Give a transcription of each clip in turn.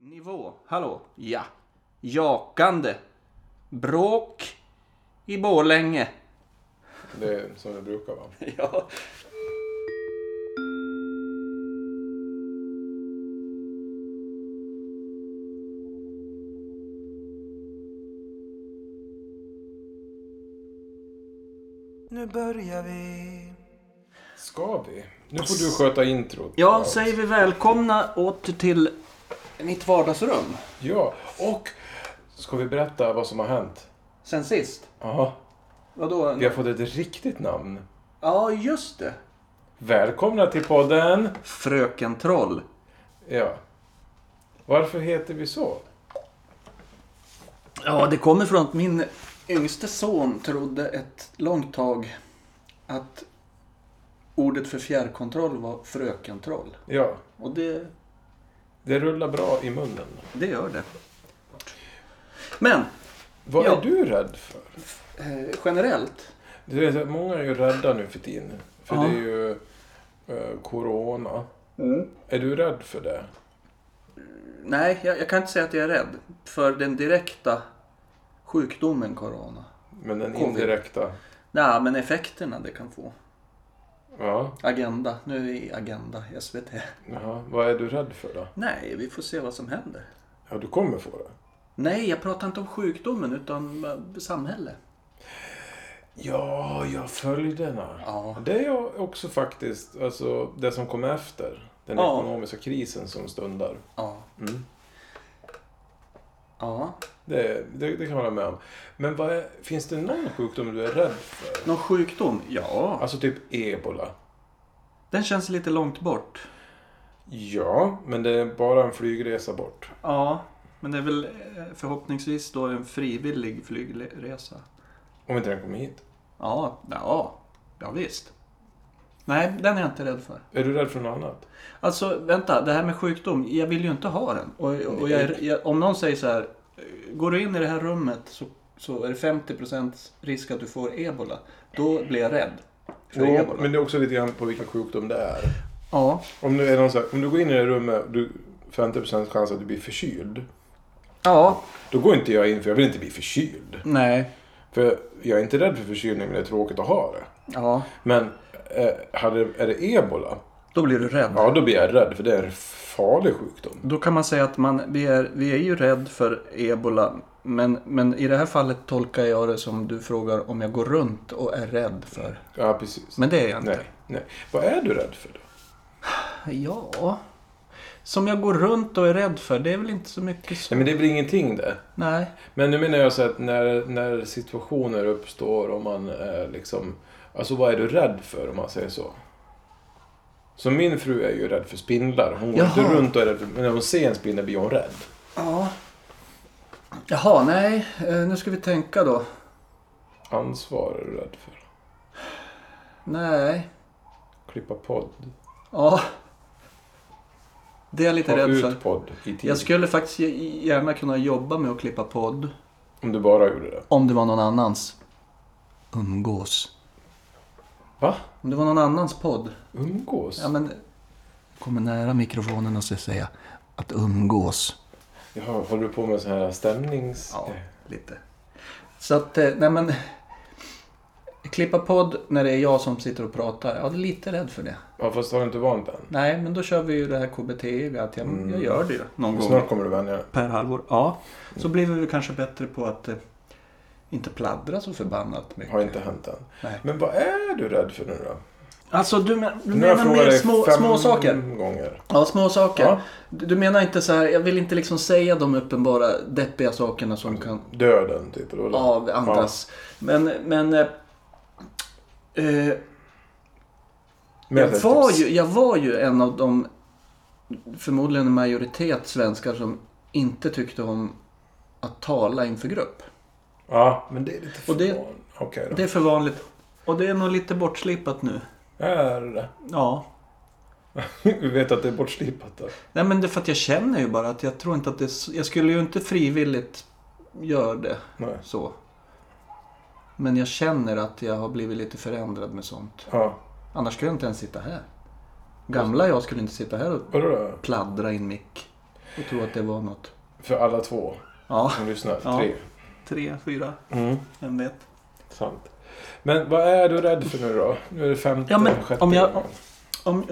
Nivå. Hallå. Ja. Jakande. Bråk i Borlänge. Det är som det brukar vara. Ja. Nu börjar vi. Ska vi? Nu får du sköta introt. Ja, säger vi välkomna åter till mitt vardagsrum. Ja, och ska vi berätta vad som har hänt? Sen sist. Ja, Vadå? vi har fått ett riktigt namn. Ja, just det. Välkomna till podden! Fröken Troll. Ja. Varför heter vi så? Ja, det kommer från att min yngste son trodde ett långt tag att ordet för fjärrkontroll var frökentroll. Ja, Och det det rullar bra i munnen. Det gör det. Men Vad Ja. är du rädd för? eh, generellt. Du vet, att många är ju rädda nu för tiden. För Ja. det är ju eh, corona. Mm. Är du rädd för det? Nej, jag, jag kan inte säga att jag är rädd. För den direkta sjukdomen corona. Men den Covid. indirekta... Nej, men effekterna det kan få. Ja, Agenda. Nu är i Agenda SVT. jaha. vad är du rädd för då? Nej, vi får se vad som händer. Ja, du kommer få det. Nej, jag pratar inte om sjukdomen utan eh, samhälle. Ja, jag följderna. Ja. Det är jag också faktiskt, alltså det som kom efter. Den Ja. ekonomiska krisen som stundar. Ja. Mm. ja. Det, det, det kan jag hålla med om. Men vad är, finns det någon sjukdom du är rädd för? Någon sjukdom? Ja. Alltså typ ebola. Den känns lite långt bort. Ja, men det är bara en flygresa bort. Ja, men det är väl eh, förhoppningsvis då en frivillig flygresa. Om inte den kommer hit. Ja, ja, ja visst. Nej, den är jag inte rädd för. Är du rädd för något annat? Alltså, vänta, det här med sjukdom. Jag vill ju inte ha den. Och, och jag, jag, om någon säger så här, går du in i det här rummet så, så är det 50% risk att du får ebola. Då blir jag rädd. För Jo, ebola. men det är också lite grann på vilken sjukdom det är. Ja, Om du, är någon så här, om du går in i det här rummet, du 50% chans att du blir förkyld. ja, Då går inte jag in för jag vill inte bli förkyld. nej, För jag är inte rädd för förkylning men det är tråkigt att ha det. ja. Men eh, hade, är det ebola? Då blir du rädd. Ja, då blir jag rädd för det är en farlig sjukdom. Då kan man säga att man, vi, är, vi är ju rädd för ebola. Men, men i det här fallet tolkar jag det som du frågar om jag går runt och är rädd för. Ja, precis. Men det är jag inte. nej, nej. Vad är du rädd för då? Ja. Som jag går runt och är rädd för, det är väl inte så mycket så. Nej, men det blir ingenting det. Nej. Men nu menar jag så att när, när situationer uppstår och man eh, liksom... Alltså vad är du rädd för om man säger så? Så min fru är ju rädd för spindlar. Hon går Jaha. inte runt och är rädd för, Men när hon ser en spindel blir hon rädd. Ja. Jaha, nej. Eh, nu ska vi tänka då. Ansvar är du rädd för. Nej. Klippa podd. Ja. Det är jag lite Ta rädd ut för. podd i tid. Jag skulle faktiskt ge- gärna kunna jobba med att klippa podd. Om du bara gjorde det. Om det var någon annans. Umgås. Va? Om det var någon annans podd. Umgås? Ja, men... Kommer nära mikrofonen och så säga att umgås. Jaha, håller du på med så här stämnings... Ja, lite. Så att, eh, nej men. Klippa podd när det är jag som sitter och pratar. Jag är lite rädd för det. Ja, fast har du inte vant än? Nej, men då kör vi ju det här KBT. Att jag, jag gör det ju någon gång. Mm. Snart Mm. kommer du vänja dig. Per halvår. Ja. Så blir vi väl kanske bättre på att eh, inte pladdra så förbannat mycket. Har inte hänt än. Nej. Men vad är du rädd för nu då? Alltså du, men, du Nu har jag menar mer frågat dig små, fem små saker? gånger. Ja, små saker. Ja. Du du menar inte så här, jag vill inte liksom säga de uppenbara deppiga sakerna Mm. som kan Döden, typ. Eller? avandas. Men, men... eh, Eh, Ja. Men jag, jag var tänkte- ju, jag var ju en av de, förmodligen en majoritet svenskar som inte tyckte om att tala inför grupp. Ja, men det är lite Och det- förvån- Okej då. Det är för vanligt. Och det är nog lite bortslipat nu. Är det Ja. det? Vi vet att det är bortslipat då. Nej men det är för att jag känner ju bara att jag tror inte att det... är s- Jag skulle ju inte frivilligt göra det. Nej. så. Men jag känner att jag har blivit lite förändrad med sånt. Ja. Annars skulle jag inte ens sitta här. Gamla jag skulle inte sitta här och Vadå då? pladdra i en mick. och tro att det var något. För alla två Ja, som lyssnar. Ja. Tre. tre, fyra, Mm. vem vet. Sant. Men vad är du rädd för nu då? Nu är det femte, Ja, men sjätte om jag- gången. Om,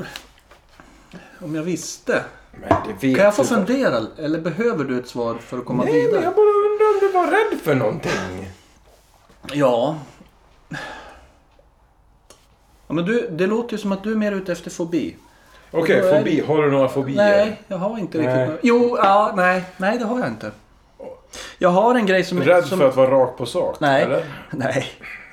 om jag visste. Men det vet Kan jag få du väl. fundera? Eller behöver du ett svar för att komma Nej, vidare? men jag bara undrar om du var rädd för någonting. Ja. ja men du, det låter ju som att du är mer ute efter fobi. Okej, Då är fobi. Har du några fobier? Nej, jag har inte riktigt Nej. några- Jo, ja, nej, nej det har jag inte. Jag har en grej som... Rädd som, för att vara rakt på sak? Nej. Eller? Nej,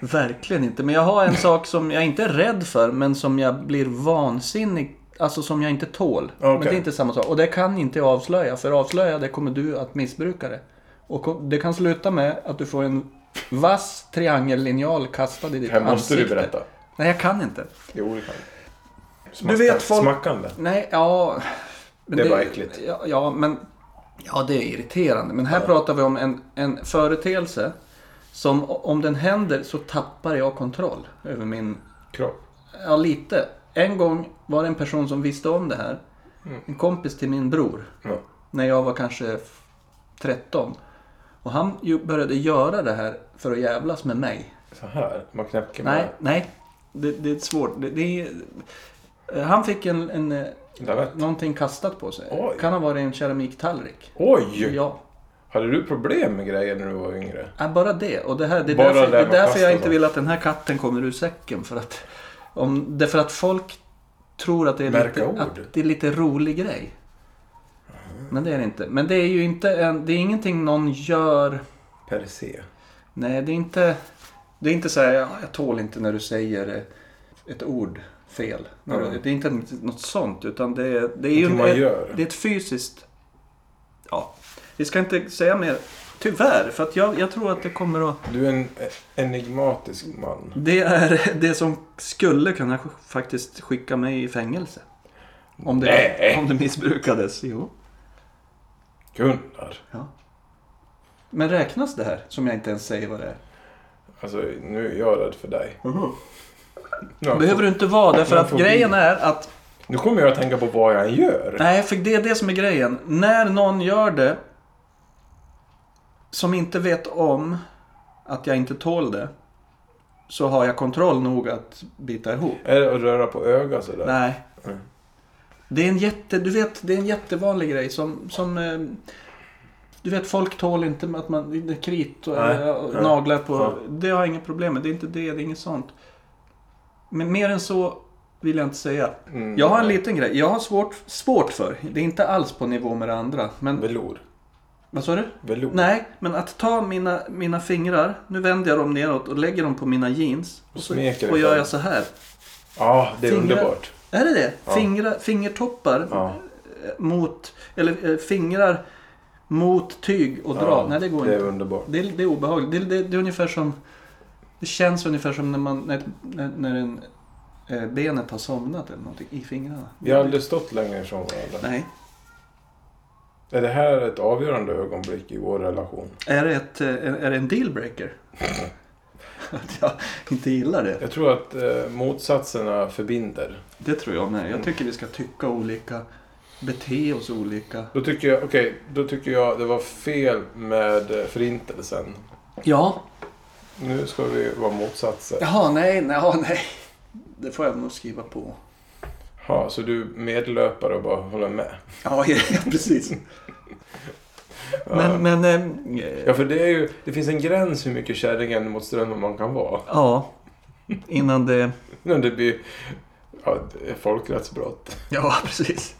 verkligen inte. Men jag har en sak som jag inte är rädd för, men som jag blir vansinnig... Alltså som jag inte tål. Men det är Okej. inte samma sak. Och det kan inte jag avslöja, för avslöja det kommer du att missbruka det. Och ko- det kan sluta med att du får en vass triangellinjal kastad i ditt Det här måste ansikte. du berätta. Nej, jag kan inte. Jo, det kan du. Du vet, folk- Smackande. Nej, ja... men Det är bara äckligt. Ja, ja, men... Ja, det är irriterande. Men här pratar vi om en, en företeelse som o- om den händer så tappar jag kontroll över min... Kropp. Ja, lite. En gång var det en person som visste om det här. Mm. En kompis till min bror. Ja. När jag var kanske f- 13. Och han ju började göra det här för att jävlas med mig. Så här. Man knäcker Nej, med nej. Det, det är svårt. Det, det är... Han fick en, en eh, lavett. Någonting kastat på sig. Oj. Kan ha varit en keramiktallrik. Oj! Ja, Hade du problem med grejer när du var yngre? Ja, bara det. Och det, här, det är Bara därför, det det här är med därför jag pasta inte då. vill att den här katten kommer ur säcken. För att, om, det är för att folk tror att det, är Märka lite, ord. Mm. att det är lite rolig grej. Men det är det inte. Men det är ju inte en, det är ingenting någon gör. Per se. Nej, det är inte, det är inte så här, "Ja, jag tål inte när du säger eh, ett ord fel. När du- Mm. Det är inte något sånt, utan det är, det är ju Någonting man ett, gör. det är ett fysiskt... Ja, vi ska inte säga mer. Tyvärr, för att jag, jag tror att det kommer att... Du är en e- enigmatisk man. Det är det som skulle kunna sk- faktiskt skicka mig i fängelse. Om det, Nej. om det missbrukades. Jo. Gunnar. Men räknas det här, som jag inte ens säger vad det är? Alltså, nu är jag rädd för dig. Ja, Behöver du inte vara det, för Mm-hmm. Jag att får bli- grejen är att Nu kommer jag att tänka på vad jag än gör. Nej, för det är det som är grejen. När någon gör det som inte vet om att jag inte tål det så har jag kontroll nog att bita ihop. Är det att röra på ögat sådär? Nej. Mm. Det är en jätte, du vet, det är en jättevanlig grej som, som eh, du vet, folk tål inte med att man det är krit och, Nej, eh, och nej. naglar på. Ja. Det har jag inga problem med. Det är inte det, det är inget sånt. Men mer än så vill jag inte säga. Mm. Jag har en liten grej. Jag har svårt, svårt för. Det är inte alls på nivå med det andra. Men Velour. vad sa du? Velour. Nej, men att ta mina, mina fingrar. Nu vänder jag dem neråt och lägger dem på mina jeans. Och, så, Smeker och det gör fram. jag så här. Ja, det är Fingrar. underbart. Är det det? Ja. Fingrar, fingertoppar Ja. eh, mot... Eller eh, fingrar mot tyg och dra. Ja, Nej, det går Det är inte. underbart. Det är, det är obehagligt. Det, det, det är ungefär som... Det känns ungefär som när, man, när, när, när en, eh, benet har somnat eller någonting i fingrarna. Vi har aldrig stått längre ifrån varandra. Nej. Är det här ett avgörande ögonblick i vår relation? Är det, ett, eh, är det en dealbreaker? Att jag inte gillar det? Jag tror att eh, motsatserna förbinder. Det tror jag med. Jag tycker vi ska tycka olika, bete oss olika. Då tycker jag, okej, då tycker jag det var fel med eh, förintelsen. Ja. Nu ska vi vara motsatser. Jaha, nej, nej, ja, nej. Det får jag nog skriva på. Ja, så du medlöpare och bara håller med? Ja, ja precis. Men, men... ehm, Ja, eh, för det, är ju, det finns en gräns hur mycket kärringen mot strömmen man kan vara. Ja. Innan det... När det blir ja, det är folkrättsbrott. Ja, precis.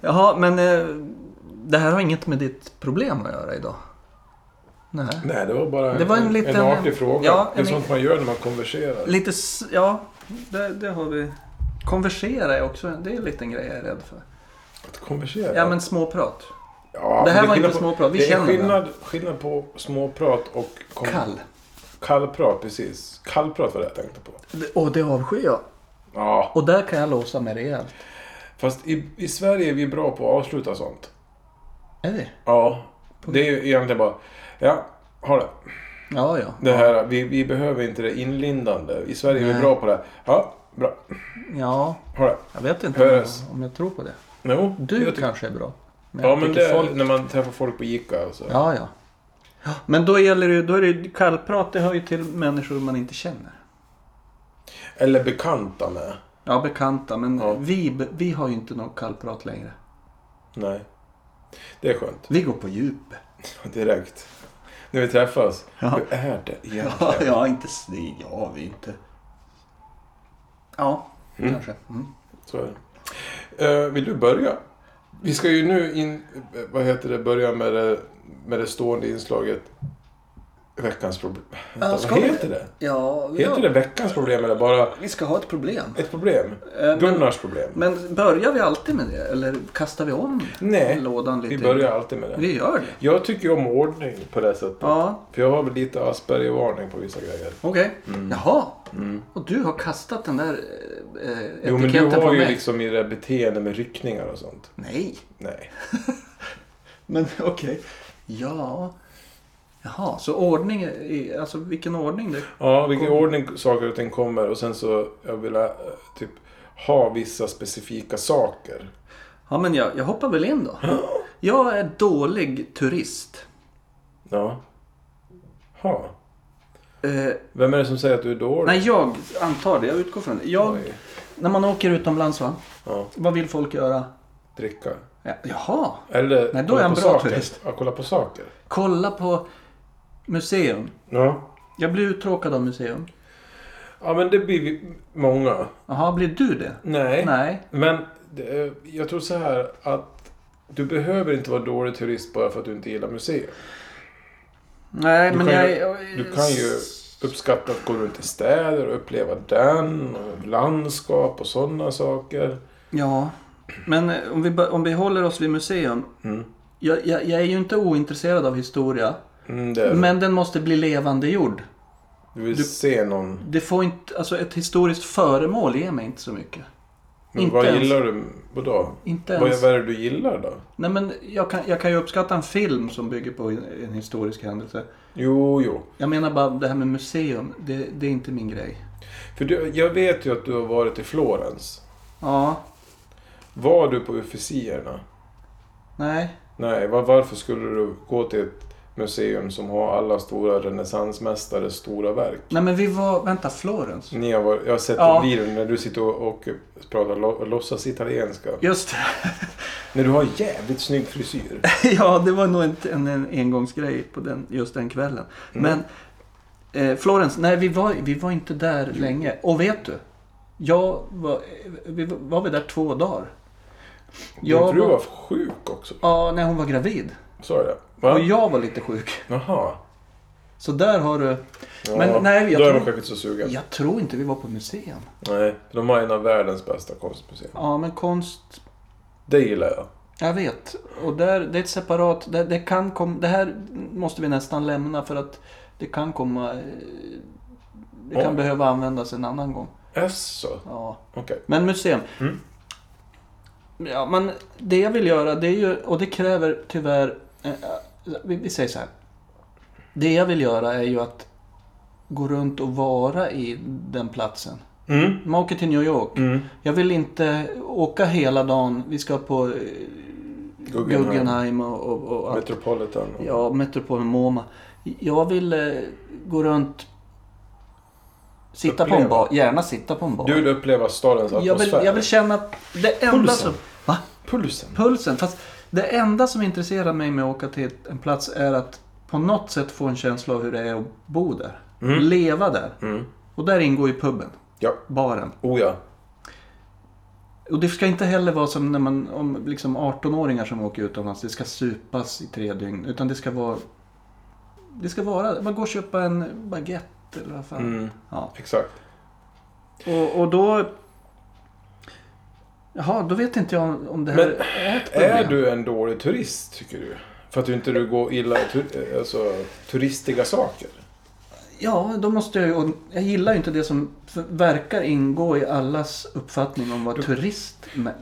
Jaha, men eh, det här har inget med ditt problem att göra idag? Nej. Nej, det var bara en, Det var en liten- artig fråga. ja, det är en- sånt man gör när man konverserar. Lite, s- ja, det, det har vi. Konversera är också, det är en liten grej jag är rädd för. Att konversera? Ja men småprat. Ja, Det men här var är inte skillnad på- småprat, vi Det är känner skillnad, skillnad på småprat och kom- Kall. kallprat. Precis. Kallprat var det jag tänkte på. Det- Och det avskyr jag. Ja, Och där kan jag låsa mig rejält. fast i, i Sverige är vi bra på att avsluta sånt. Är det? Ja, det är ju egentligen bara... Ja, ha det. Ja, ja. Det här, vi, vi behöver inte det inlindande. I Sverige är vi Nej. bra på det. Ja, bra. Ja, Ha det. jag vet inte om Hörs. jag, om jag tror på det. Jo, Du jag ty- kanske är bra. när Ja, jag men tycker det, folk- när man träffar folk på Ica alltså. och så. Ja, ja. Ja, Men då, gäller det, ju- då är det ju- kallprat, det hör ju till människor man inte känner. Eller bekanta med. Ja, bekanta, men Ja. vi, be- vi har ju inte något kallprat längre. Nej. Det är skönt. Vi går på djupet. Direkt. När vi träffas. Ja. Hur är det egentligen? Ja, ja, inte sni, ja, vi inte. Ja, kanske. Mm. Så är det. Eh, vill du börja? Vi ska ju nu in, eh, vad heter det, börja med det, med det stående inslaget Veckans problem. Vänta, ska vad vi? heter det? Ja, vi, Heter det veckans problem eller bara vi ska ha ett problem. ett problem? Eh, men, Gunnars problem? men börjar vi alltid med det? Eller kastar vi om Nej, lådan lite? vi börjar alltid med det. Vi gör det. Jag tycker ju om ordning på det sättet. Ja, För jag har väl lite Asperger-varning på vissa grejer. okej. Mm. Jaha. Och du har kastat den där eh, eh, etiketten Jo, men du på har ju mig. liksom i det där beteende med ryckningar och sånt. Nej. Nej. Men okej. Ja. Jaha, så ordning, är- alltså vilken ordning det Ja, vilken ordning saker och ting kommer och sen så jag vill eh, typ ha vissa specifika saker. Ja, men jag, jag hoppar väl in då. Jag är dålig turist. Ja. Ha. Eh, Vem är det som säger att du är dålig? nej, jag antar det. Jag utgår från det. Jag, Oj. när man åker utomlands, va? Ja, vad vill folk göra? dricka. Ja, Jaha, Eller Nej, då kolla är jag en på bra saker. turist. Ja, kolla på saker. kolla på museum. Ja. Jag blir uttråkad av museum. Ja, men det blir vi många. Jaha, blir du det? Nej. Nej. Men det, eh, jag tror så här att du behöver inte vara dålig turist bara för att du inte gillar museer. Nej, Du men kan jag... ju- jag- Du kan ju uppskatta att gå runt i städer och uppleva den och landskap och sådana saker. Ja, men eh, om vi, bör- om vi håller oss vid museum. Mm. Jag, jag, jag är ju inte ointresserad av historia. Mm, det är, det. Men den måste bli levandegjord. du vill se någon. Det får inte, alltså ett historiskt föremål ger mig inte så mycket. Men inte vad ens. gillar du? Vadå? Inte Vad, ens. vad är det du gillar då? Nej men jag kan, jag kan ju uppskatta en film som bygger på en, en historisk händelse. Jo, jo. Jag menar bara det här med museum, det, det är inte min grej. För du, jag vet ju att du har varit i Florens. Ja, Var du på Ufficierna? nej. Nej, var, varför skulle du gå till ett museum som har alla stora renässansmästares stora verk? Nej men vi var, vänta, Florens. Ni har varit, jag har sett Ja. en video när du sitter och, och pratar lo, låtsas italienska. Just det. När du har jävligt snygg frisyr. Ja, det var nog en, en, en engångsgrej på den, just den kvällen. Mm. Men eh, Florens, nej vi var, vi var inte där länge. Och vet du? Jag var, eh, vi var, var vi där två dagar. Din Jag fru var- var sjuk också. Ja, när hon var gravid. Sa jag det? Va? Och jag var lite sjuk. Jaha. Så där har du... Ja, Men nej, jag då är tror- de kanske inte så sugen. Jag tror inte vi var på museum. Nej, de har en av världens bästa konstmuseer. Ja, men konst... Det gillar jag. Jag vet. Och där, det är ett separat... Det, det kan komma... Det här måste vi nästan lämna för att det kan komma... eh, Det kan Oj. behöva användas en annan gång. Jaså? Ja. Okej. Men museum. Mm. Ja, men det jag vill göra, det är ju... Och det kräver tyvärr... eh, Vi, vi säger så här. Det jag vill göra är ju att gå runt och vara i den platsen. Mm. Man åker till New York. Mm. Jag vill inte åka hela dagen. Vi ska på eh, Guggenheim. Guggenheim och, och, och allt. Metropolitan. Ja, Metropolen MoMA. Jag vill eh, gå runt. Sitta på en Uppleva. bar. Gärna sitta på en bar. Du vill uppleva stadens jag, atmosfär. vill, jag vill känna att det enda Pulsen. som... Va? Pulsen. Pulsen. Fast det enda som intresserar mig med att åka till en plats är att på något sätt få en känsla av hur det är att bo där. Leva där. Mm. Och där ingår ju puben. Ja. Baren. Oh ja. Och det ska inte heller vara som när man, om liksom 18-åringar som åker utomlands, det ska supas i tre dygn. Utan det ska vara... Det ska vara, man går och köpa en baguette eller vad fan. Mm. Ja. Exakt. Och, och då... Jaha, då vet inte jag om- om det här Men är ett problem. Är du en dålig turist, tycker du? För att du inte du går illa tur, alltså, turistiga saker? Ja, då måste jag ju... och Jag gillar ju inte det som för- verkar ingå i allas uppfattning om vad turist... Men,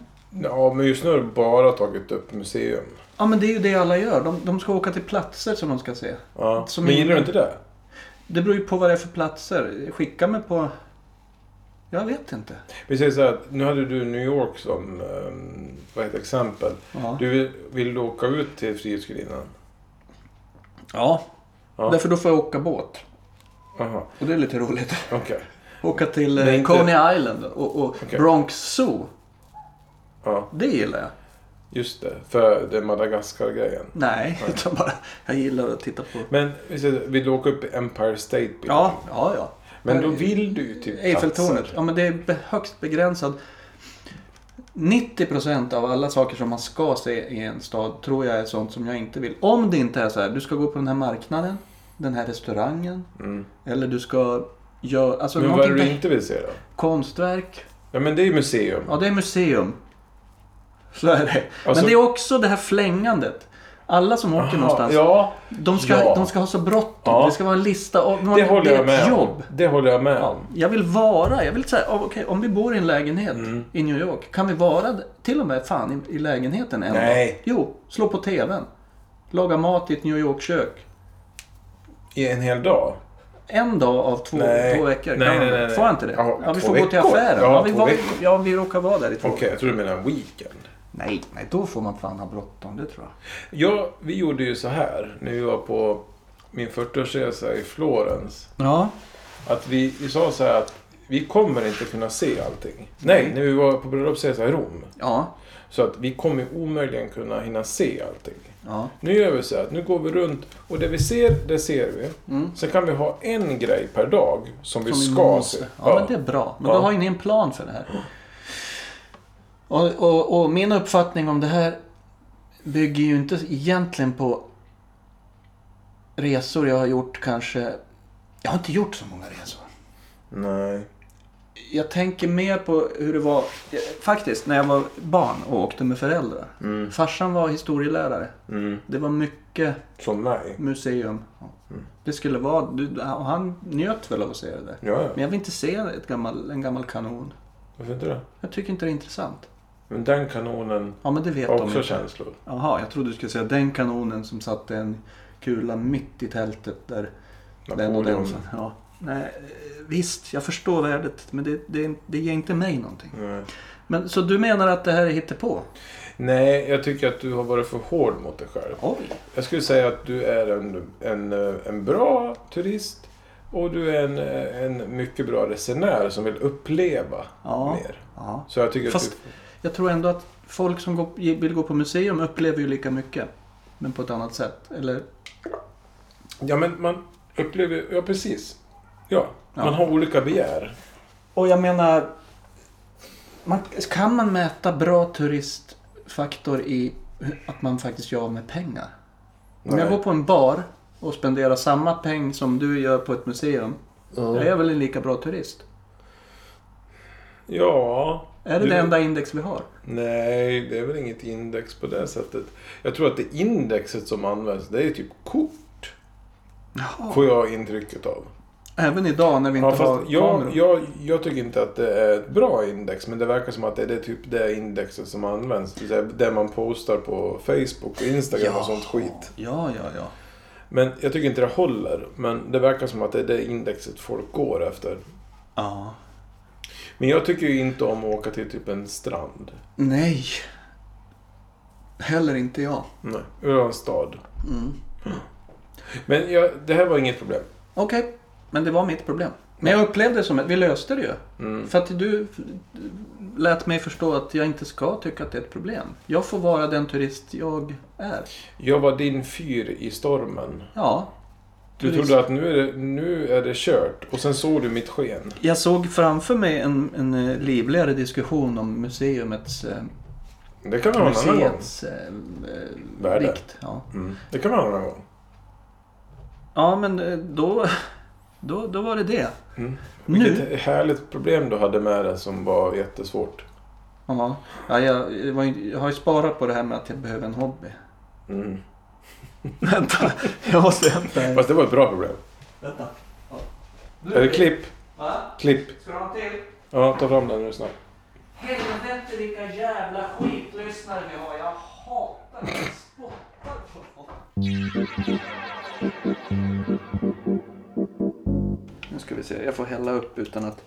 Ja, men just nu har du bara tagit upp museum. ja, men det är ju det alla gör. De, de ska åka till platser som de ska se. Ja. Som Men gillar du in- inte det? Det beror ju på vad det är för platser. Skicka mig på Jag vet inte. Vi säger så här, att nu hade du New York som eh, vad heter, exempel. Ja. Du vill, vill du åka ut till Frihetsgudinnan? ja. Ja. Därför då får jag åka båt. Aha, Och det är lite roligt. okej. Åka till Nej, eh, inte- Coney Island och, och Okej. Bronx Zoo. Ja, Det gillar jag. just det. För det är Madagaskar-grejen. Nej, utan bara jag gillar att titta på. Men vi säger så här, vill du åka upp i Empire State Building? Ja, ja, ja. Men då Här- vill du ju typ Eiffeltornet. Alltså, platser. Ja, men det är be- högst begränsad. 90% av alla saker som man ska se i en stad tror jag är sånt som jag inte vill. Om det inte är så här, du ska gå på den här marknaden, den här restaurangen. Mm. Eller du ska göra, alltså Men vad är någonting det du med inte vill se då? konstverk. Ja men det är ju museum. Ja, det är museum. Så är det. Alltså- Men det är också det här flängandet. Alla som åker Aha, någonstans, Ja, de, ska, ja. de ska ha så bråttom. Ja. Det ska vara en lista. Av, det håller det är jag med ett om. jobb. Det håller jag med Ja, om. jag vill vara, jag vill säga, oh, okej, om vi bor i en lägenhet Mm. i New York, kan vi vara d- till och med fan i, i lägenheten en Nej. dag? Jo, slå på TVn. Laga mat i ett New York-kök. I en hel dag? En dag av två, Nej. två veckor. Nej, kan man nej, väl? nej, nej. Får jag inte det? Ja, Ja, vi två får gå till veckor. affären. Ja, Ja, vi, två var, veckor. ja, vi råkar vara där i två Okej, jag tror du menar en weekend. Nej, nej, då får man fan ha bråttom, det tror jag. Ja, vi gjorde ju så här när vi var på min 40-årsresa i Florens. Ja, Att vi, vi sa så här att vi kommer inte kunna se allting. Nej, Mm. när vi var på bröllopsresa i Rom. ja, Så att vi kommer ju omöjligen kunna hinna se allting. ja. Nu gör vi så här att nu går vi runt och det vi ser, det ser vi. Mm. Sen kan vi ha en grej per dag som vi Som vi ska måste. se. Ja, men det är bra. Men Ja. då har ju ni en plan för det här. Och, och, och min uppfattning om det här bygger ju inte egentligen på resor jag har gjort kanske. Jag har inte gjort så många resor. Nej. Jag tänker mer på hur det var eh, faktiskt när jag var barn och åkte med föräldrar. Mm. Farsan var historielärare. Mm. Det var mycket Som nej. Mm. museum. Mm. Det skulle vara, du- och han njöt väl av att se det där. Ja, Men ja. jag vill inte se ett gammal, en gammal kanon. Varför inte det? Jag tycker inte det är intressant. Men den kanonen Ja, men det vet har de också inte. känslor. Jaha, jag trodde du skulle säga den kanonen som satte en kula mitt i tältet där den och den Napoleon. satt. Ja. Nej, eh, visst, jag förstår värdet, men det, det, det ger inte mig någonting. Nej. Men, så du menar att det här är hittepå? Nej, jag tycker att du har varit för hård mot dig själv. Oj! Jag skulle säga att du är en, en, eh, en bra turist och du är en, eh, en mycket bra resenär som vill uppleva Ja. mer. Ja. Så jag tycker Fast att jag tror ändå att folk som går, vill gå på museum upplever ju lika mycket. Men på ett annat sätt. Eller? du... Ja, men man upplever... Ja, precis. Ja, Ja. man har olika begär. Och jag menar, man, kan man mäta bra turistfaktor i att man faktiskt gör av med pengar? Om jag Nej. går på en bar och spenderar samma peng som du gör på ett museum, då är jag väl en lika bra turist? Ja. Är det Du- det enda index vi har? Nej, det är väl inget index på det sättet. Jag tror att det indexet som används, det är typ kort. Får jag intrycket av. Även idag när vi inte Ja, fast har kameror? jag, jag, jag tycker inte att det är ett bra index, men det verkar som att det är det typ det indexet som används. Det vill säga det man postar på Facebook och Instagram och sånt skit. Ja, ja, ja. Men jag tycker inte det håller. Men det verkar som att det är det indexet folk går efter. ja. Men jag tycker ju inte om att åka till typ en strand. Nej. Heller inte jag. Mm. Nej, eller en stad. Men jag, det här var inget problem. Okej, men det var mitt problem. Men jag upplevde det som att vi löste det ju. Mm. För att du f- lät mig förstå att jag inte ska tycka att det är ett problem. Jag får vara den turist jag är. Jag var din fyr i stormen. Ja. Du turist. trodde att nu är, det, nu är det kört och sen såg du mitt sken. Jag såg framför mig en, en eh, livligare diskussion om museumets, eh, Det kan vi ha en annan gång. museets eh, eh, Värde. vikt. Ja. Mm. Det kan vi ha en annan gång. ja, men eh, då, då, då var det det. Mm. Nu? Vilket härligt problem du hade med det som var jättesvårt. Ja, ja jag, det var ju- jag har ju sparat på det här med att jag behöver en hobby. Mm. Vänta, jag måste hämta en. Fast det var ett bra problem. Vänta. Ja. Är det klipp? Va? Klipp. Ska du ha en till? Ja, ta fram den nu snabbt. Helvete vilka jävla skitlyssnare vi har. Jag hatar att jag spottar på dem. Nu ska vi se, jag får hälla upp utan att...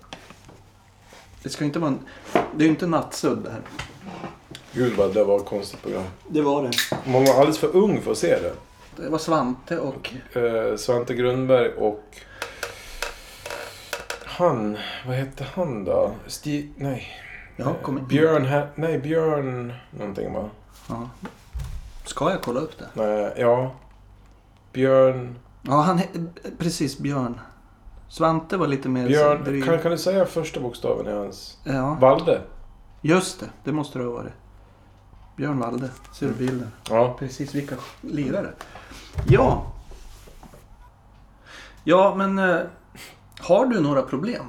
Det ska inte vara en, Det är ju inte nattsudd det här. Gud vad det var ett konstigt program. Det var det. Man var alldeles för ung för att se det. Det var Svante och... Eh, Svante Grundberg och han, vad hette han då? Stig, nej. Ja, kom igen. Björn, Hä- nej Björn någonting va? Ja. Ska jag kolla upp det? Nej, ja. Björn, Ja, han he- precis. Björn. Svante var lite mer... Björn, dryg. kan, kan du säga första bokstaven i hans? Ja, Valde? just det. Det måste det ha varit. Björn Walde. Ser du Mm. bilden? Ja. Precis, vilka lirare. Ja. Ja, men eh, har du några problem?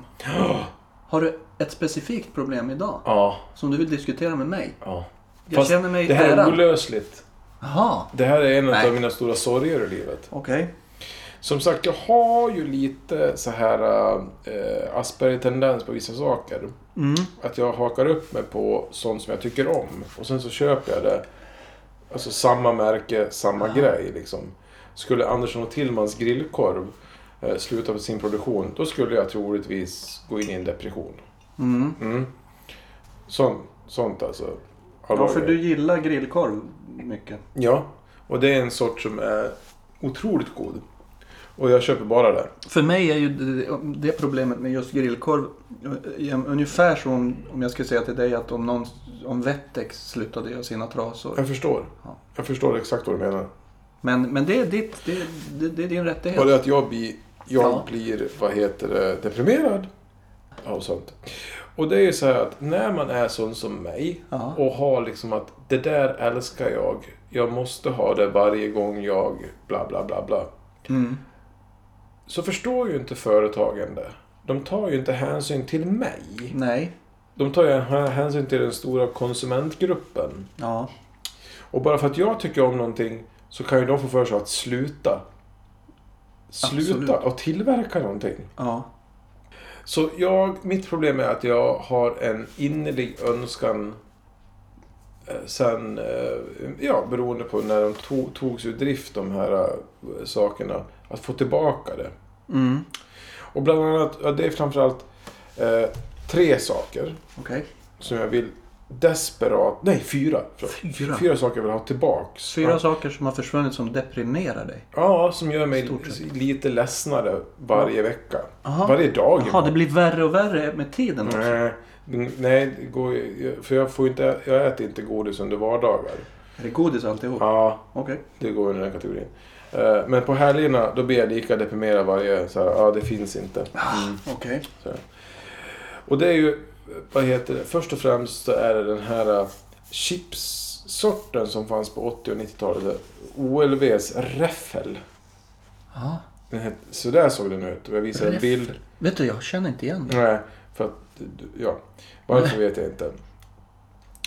Har du ett specifikt problem idag Ja. som du vill diskutera med mig? ja. Jag Fast känner mig Det här är ärad. olösligt. Jaha, Det här är en Nej. av mina stora sorger i livet. okej. Som sagt, jag har ju lite så här eh, Asperger-tendens på vissa saker. Mm. Att jag hakar upp mig på sånt som jag tycker om. Och sen så köper jag det. Alltså samma märke, samma grej liksom. Skulle Andersson och Tillmans grillkorv eh, sluta med sin produktion, då skulle jag troligtvis gå in i en depression. Mm. Mm. Sånt, sånt alltså. Ja, för du gillar grillkorv mycket. Ja, och det är en sort som är otroligt god. Och jag köper bara det. För mig är ju det, det problemet med just grillkorv eh, ungefär som om, om jag skulle säga till dig att om, någon, om Vettex slutade göra sina trasor. Jag förstår. Ja. Jag förstår exakt vad du menar. Men, men det är ditt, det, det, det är din rättighet. Bara att jag blir, jag Ja. blir vad heter det, deprimerad. Ja, och sånt. Och det är ju så här att när man är sån som mig Ja. och har liksom att det där älskar jag. Jag måste ha det varje gång jag bla bla bla bla. Mm. Så förstår ju inte företagen det. De tar ju inte hänsyn till mig. Nej. De tar ju hänsyn till den stora konsumentgruppen. Ja. Och bara för att jag tycker om någonting så kan ju de få för sig att sluta. Sluta Absolut. och tillverka någonting. Ja. Så jag, mitt problem är att jag har en innerlig önskan eh, sen, eh, ja beroende på när de to, togs ur drift de här eh, sakerna, att få tillbaka det. Mm. Och bland annat, ja, det är framförallt eh, tre saker Okej. som jag vill desperat, nej fyra, förlåt. Fyra. fyra saker jag vill ha tillbaks. Fyra Ja. saker som har försvunnit som deprimerar dig. Ja, som gör mig Stort sett. lite ledsnare varje vecka. Aha. Varje dag. Jaha, det blir värre och värre med tiden också. Nej, nej det går, ju- för jag, får ju inte, jag äter inte godis under vardagar. Är det godis alltihop? Ja, Mm. Okej. det går under den kategorin. Eh, Men på helgerna då blir jag lika deprimerad varje så här, ja det finns inte. Ah, Okej. Och det är ju, vad heter det, först och främst så är det den här eh, chipssorten som fanns på 80 och Eh, 90-talet. OLVs Räffel. Ja. Den het- Så där såg den ut. Och Jag visade en Räffel. bild Vet du, jag känner inte igen det. Nej, för att... Ja. Varför vet jag inte.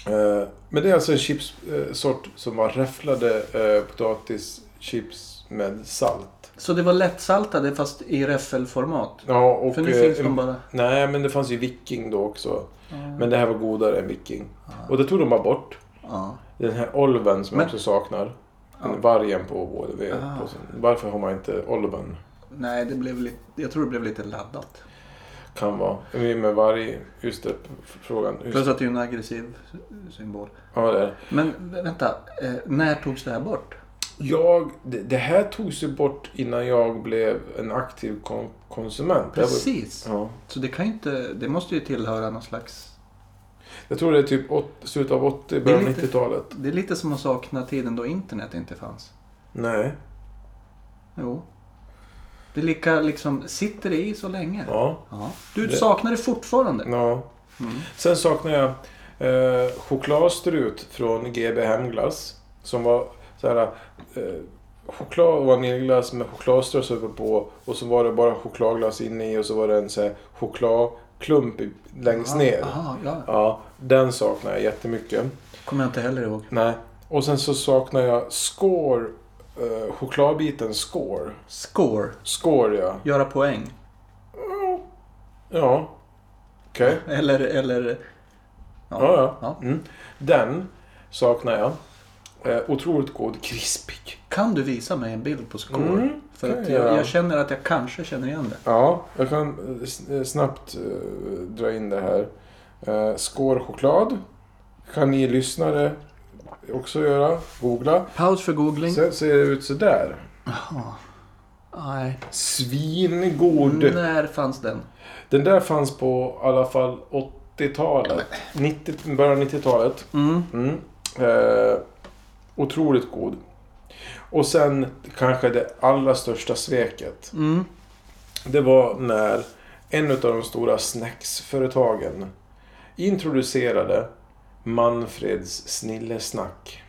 Eh, Men det är alltså en chipssort som var räfflade eh, potatischips med salt. Så det var lättsaltade fast i räffelformat? Ja, och... För nu eh, finns en- de bara... Nej, men det fanns ju viking då också. Ja. Men det här var godare än viking. Och det tog de bara bort. Ja. Den här olven som jag Men- också saknar. Den Vargen på HDV. på sin- Varför har man inte olven? Nej, det blev lite... jag tror det blev lite laddat. Kan vara. Men Med varg. Just det, frågan. Just, Plus att det är en aggressiv symbol. ja, det är det. Men vä- vänta, eh, när togs det här bort? Jag, det, det här togs ju bort innan jag blev en aktiv kon, konsument. Det här var- Precis. Ja. Så det kan ju inte... Det måste ju tillhöra någon slags... Jag tror det är typ åt, slutet av 80, Det är början av lite- 90-talet. Det är lite som att sakna tiden då internet inte fanns. Nej. Jo. Det är lika liksom, sitter det i så länge? Ja. Ja. Du Det- saknar det fortfarande? ja. Mm. Sen saknar jag eh, chokladstrut från GB Hemglass. Som var så här... Eh, choklad och vaniljglass med chokladströss uppe på. Och så var det bara chokladglass inne i och så var det en så här chokladklump i, längst ner. Aha, ja. Ja, den saknar jag jättemycket. Kommer jag inte heller ihåg. Nej. Och sen så saknar jag score. Eh, chokladbiten score. Score. Score ja. Göra poäng. Ja. Okej. Eller, eller... Ja, ja. Ja. Mm. Den saknar jag. Eh, otroligt god krispig. Kan du visa mig en bild på score? Mm, För kan att jag jag, göra. jag känner att jag kanske känner igen det. Ja, jag kan eh, s- eh, snabbt eh, dra in det här. Eh, Skårchoklad kan ni lyssnare också göra. Googla. Paus för googling. Sen ser det ut sådär. Nej. Svingod. När fanns den? Den där fanns på i alla fall 80-talet. 90, början av 90-talet. Mm. Mm. Eh, otroligt god. Och sen kanske det allra största sveket. Mm. Det var när en av de stora snacksföretagen introducerade Manfreds snillesnack.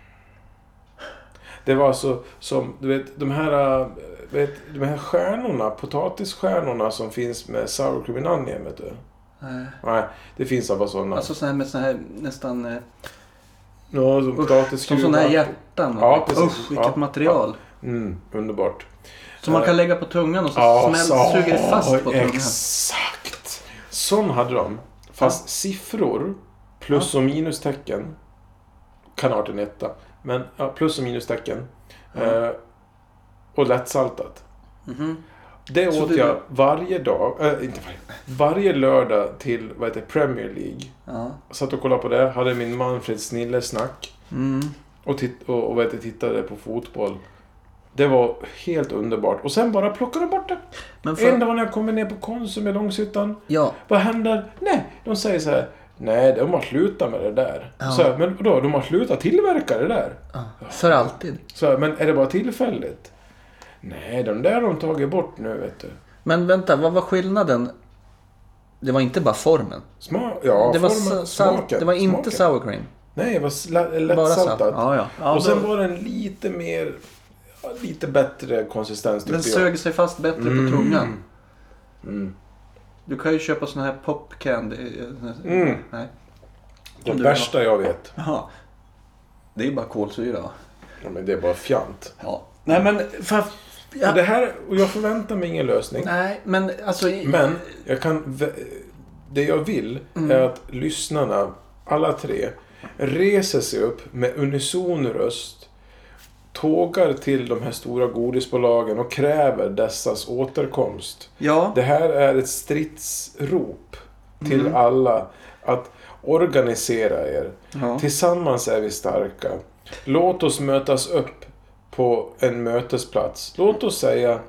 Det var alltså som, du vet, de här, eh, vet, de här stjärnorna, potatisstjärnorna som finns med sour cream and onion, vet du. Nej. Nej, det finns bara sådana. Alltså sån här med sån här nästan... eh, ja, som Usch, som såna här hjärtan. Ja, precis. Usch, vilket Ja, material. Mm, underbart. Som man kan lägga på tungan och så smält, suger det fast på tungan. Exakt. Sån hade de. Fast siffror, plus och minustecken. Kan ha varit en etta. Men ja, plus och minustecken. Eh, och lättsaltat. Mhm. Det Så åt det- jag varje dag. eh, inte varje, varje lördag till vad heter det, Premier League. Ja. Satt och kollade på det. Hade min Manfred Snille-snack. Mm. och, titt- och, och vad heter, det, tittade på fotboll. Det var helt underbart. Och sen bara plockade de bort det. Men En för, dag när jag kommer ner på Konsum i Långshyttan. ja, Vad händer? Nej, de säger så här. Nej, de har slutat med det där. Ja. Så här, men då, de har slutat tillverka det där. ja, för alltid. Så här, men är det bara tillfälligt? Nej, de där har de tagit bort nu, vet du. Men vänta, vad var skillnaden? Det var inte bara formen. Smak, ja, det, var formen, sa- sal- smaken, det var inte smaken. sour cream. Nej, det var sla- Bara salt. lättsaltat. Ja, ja. ja och sen då- var den lite mer... ja, Lite bättre konsistens, den tyckte jag. sög sig fast bättre Mm. på tungan. Mm. Du kan ju köpa sån här pop candy. eh, Mm. Nej. Det Om du värsta jag vet. Ja. Det är ju bara kolsyra. Ja, men det är bara fjant. Ja. Nej men... För, Och det här, och jag förväntar mig ingen lösning. Nej men alltså... i- Men jag kan... vä- Det jag vill är att lyssnarna, alla tre, reser sig upp med unison röst. Tågar till de här stora godisbolagen och kräver dessas återkomst. Ja. Det här är ett stridsrop till alla att organisera er. ja. Tillsammans är vi starka. Låt oss mötas upp på en mötesplats. Låt oss säga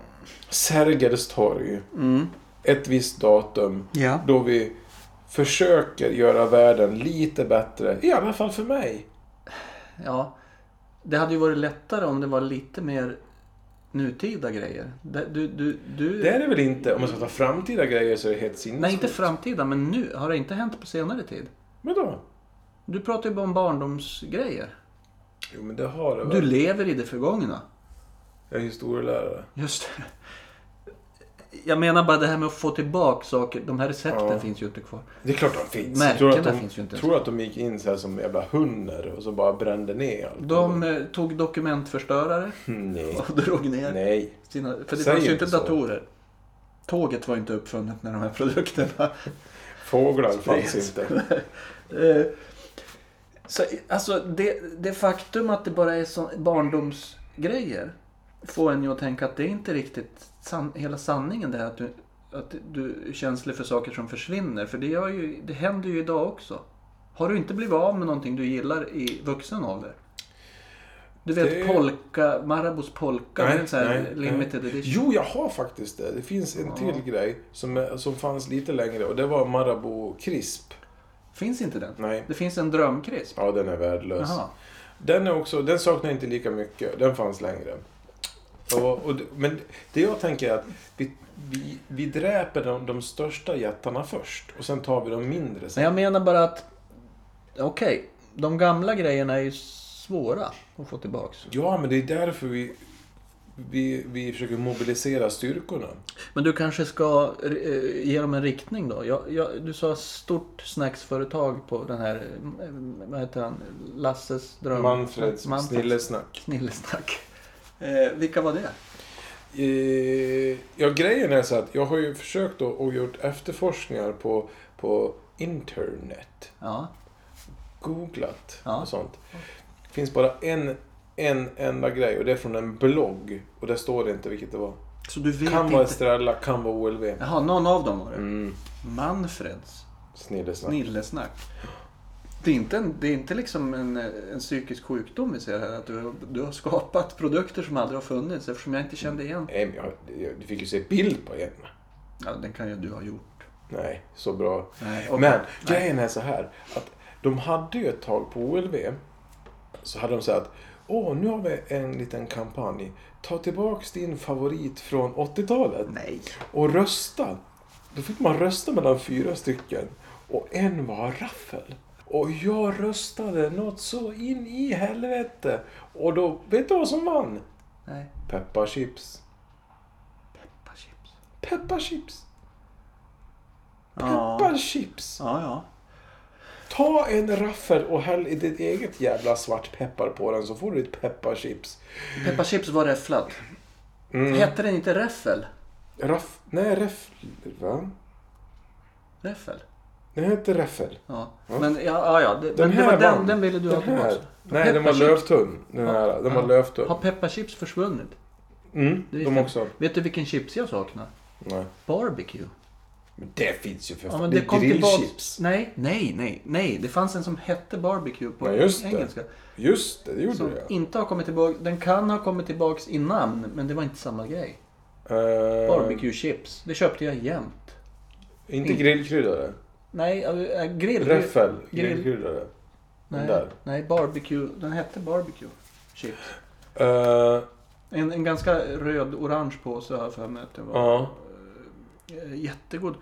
Sergels torg. Mm. Ett visst datum Ja. då vi försöker göra världen lite bättre. I alla fall för mig. Ja. Det hade ju varit lättare om det var lite mer nutida grejer. Det- Du, du, du... Det är det väl inte? Om man ska ta framtida grejer så är det helt sinnessjukt. Nej, inte framtida, men nu. Har det inte hänt på senare tid? Men då? Du pratar ju bara om barndomsgrejer. Jo men det har det Du väl. lever i det förgångna. Jag är historielärare. Just det. Jag menar bara det här med att få tillbaka saker. De här recepten Ja. finns ju inte kvar. Det är klart de finns. Märkena tror du att de, finns ju inte ens. Tror du att de gick in så här som jävla hundar och så bara brände ner allt? De eh, tog dokumentförstörare Nej. och drog ner Nej. sina... För det Säg fanns ju inte inte så. datorer. Tåget var inte uppfunnet när de här produkterna Fåglar fanns inte. Eh, Så, alltså det, det faktum att det bara är så, barndomsgrejer får en ju att tänka att det är inte riktigt san, hela sanningen det här att du, att du är känslig för saker som försvinner. För det, gör ju, det händer ju idag också. Har du inte blivit av med någonting du gillar i vuxen ålder? Du vet Det- polka, Marabous polka, det är en sån här limited edition. Jo, jag har faktiskt det. Det finns en till grej som, är, som fanns lite längre och det var Marabou Crisp. Finns inte den? Nej. Det finns en drömkrisp. Ja, den är värdelös. Jaha. Den, är också, den saknar jag inte lika mycket. Den fanns längre. Och, och, det- men det jag tänker är att vi, vi, vi dräper de, de största jättarna först och sen tar vi de mindre sen. Men jag menar bara att, okej, de gamla grejerna är ju svåra att få tillbaks. Ja, men det är därför vi, vi, vi försöker mobilisera styrkorna. Men du kanske ska eh, ge dem en riktning då? Jag, jag, du sa stort snacksföretag på den här, eh, vad heter han, Lasses dröm... Manfreds Manfreds snillesnack. Snillesnack. Eh, vilka var det? Eh, ja, grejen är så att jag har ju försökt då och gjort efterforskningar på, på internet. Ja, Googlat Ja. och sånt. Det finns bara en, en enda grej och det är från en blogg. Och där står det inte vilket det var. så du vet Kan vara inte? Estrella, kan vara OLV. Jaha, någon av dem var det. Mm. Manfreds. Snillesnack. Snillesnack. Det är inte, en, det är inte liksom en, en psykisk sjukdom vi ser här. Att du, du har skapat produkter som aldrig har funnits eftersom jag inte kände igen. Nej, men jag, jag, du fick ju se bild på en. Ja, den kan ju du ha gjort. Nej, så bra. Nej, och- Men grejen är så här. Att de hade ju ett tag på OLV. Så hade de sagt att Åh, nu har vi en liten kampanj. Ta tillbaks din favorit från 80-talet Nej. och rösta. Då fick man rösta mellan fyra stycken och en var raffel. Och jag röstade något så in i helvete. Och då, vet du vad som vann? Nej. Pepparchips. Pepparchips. Pepparchips. Ja. Pepparchips. Ja, ja. Ta en raffel och häll i ditt eget jävla svartpeppar på den så får du ett pepparchips. Pepparchips var räfflad. Mm. Hette den inte räffel? Raff... Nej, räffel... Va? Räffel? Den heter räffel. Ja. Men ja, ja, ja. Det, men det var den, den ville du ha den här. tillbaka. Nej, den var Pepparchips. lövtunn. Den här. Den var lövtunn. Har pepparchips försvunnit? Mm, Det visste de jag. också. Vet du vilken chips jag saknar? Nej. Barbecue. Men det finns ju för Ja, fan. men det det är kom tillbaka. grillchips. Nej, nej, nej, nej. Det fanns en som hette barbecue på Ja, just det. engelska. Just det, det gjorde Som jag. inte har kommit tillbaka. Den kan ha kommit tillbaka i namn, men det var inte samma grej. Eh, Barbecue chips. Det köpte jag jämt. Inte grillkryddare. Nej, äh, grill. Räffel. Grill. Grillkryddare. Den Nej, där. nej, barbecue. Den hette barbecue chips. Eh, En, en ganska röd-orange påse har jag för mig att det var. Ja. Eh, Jättegod.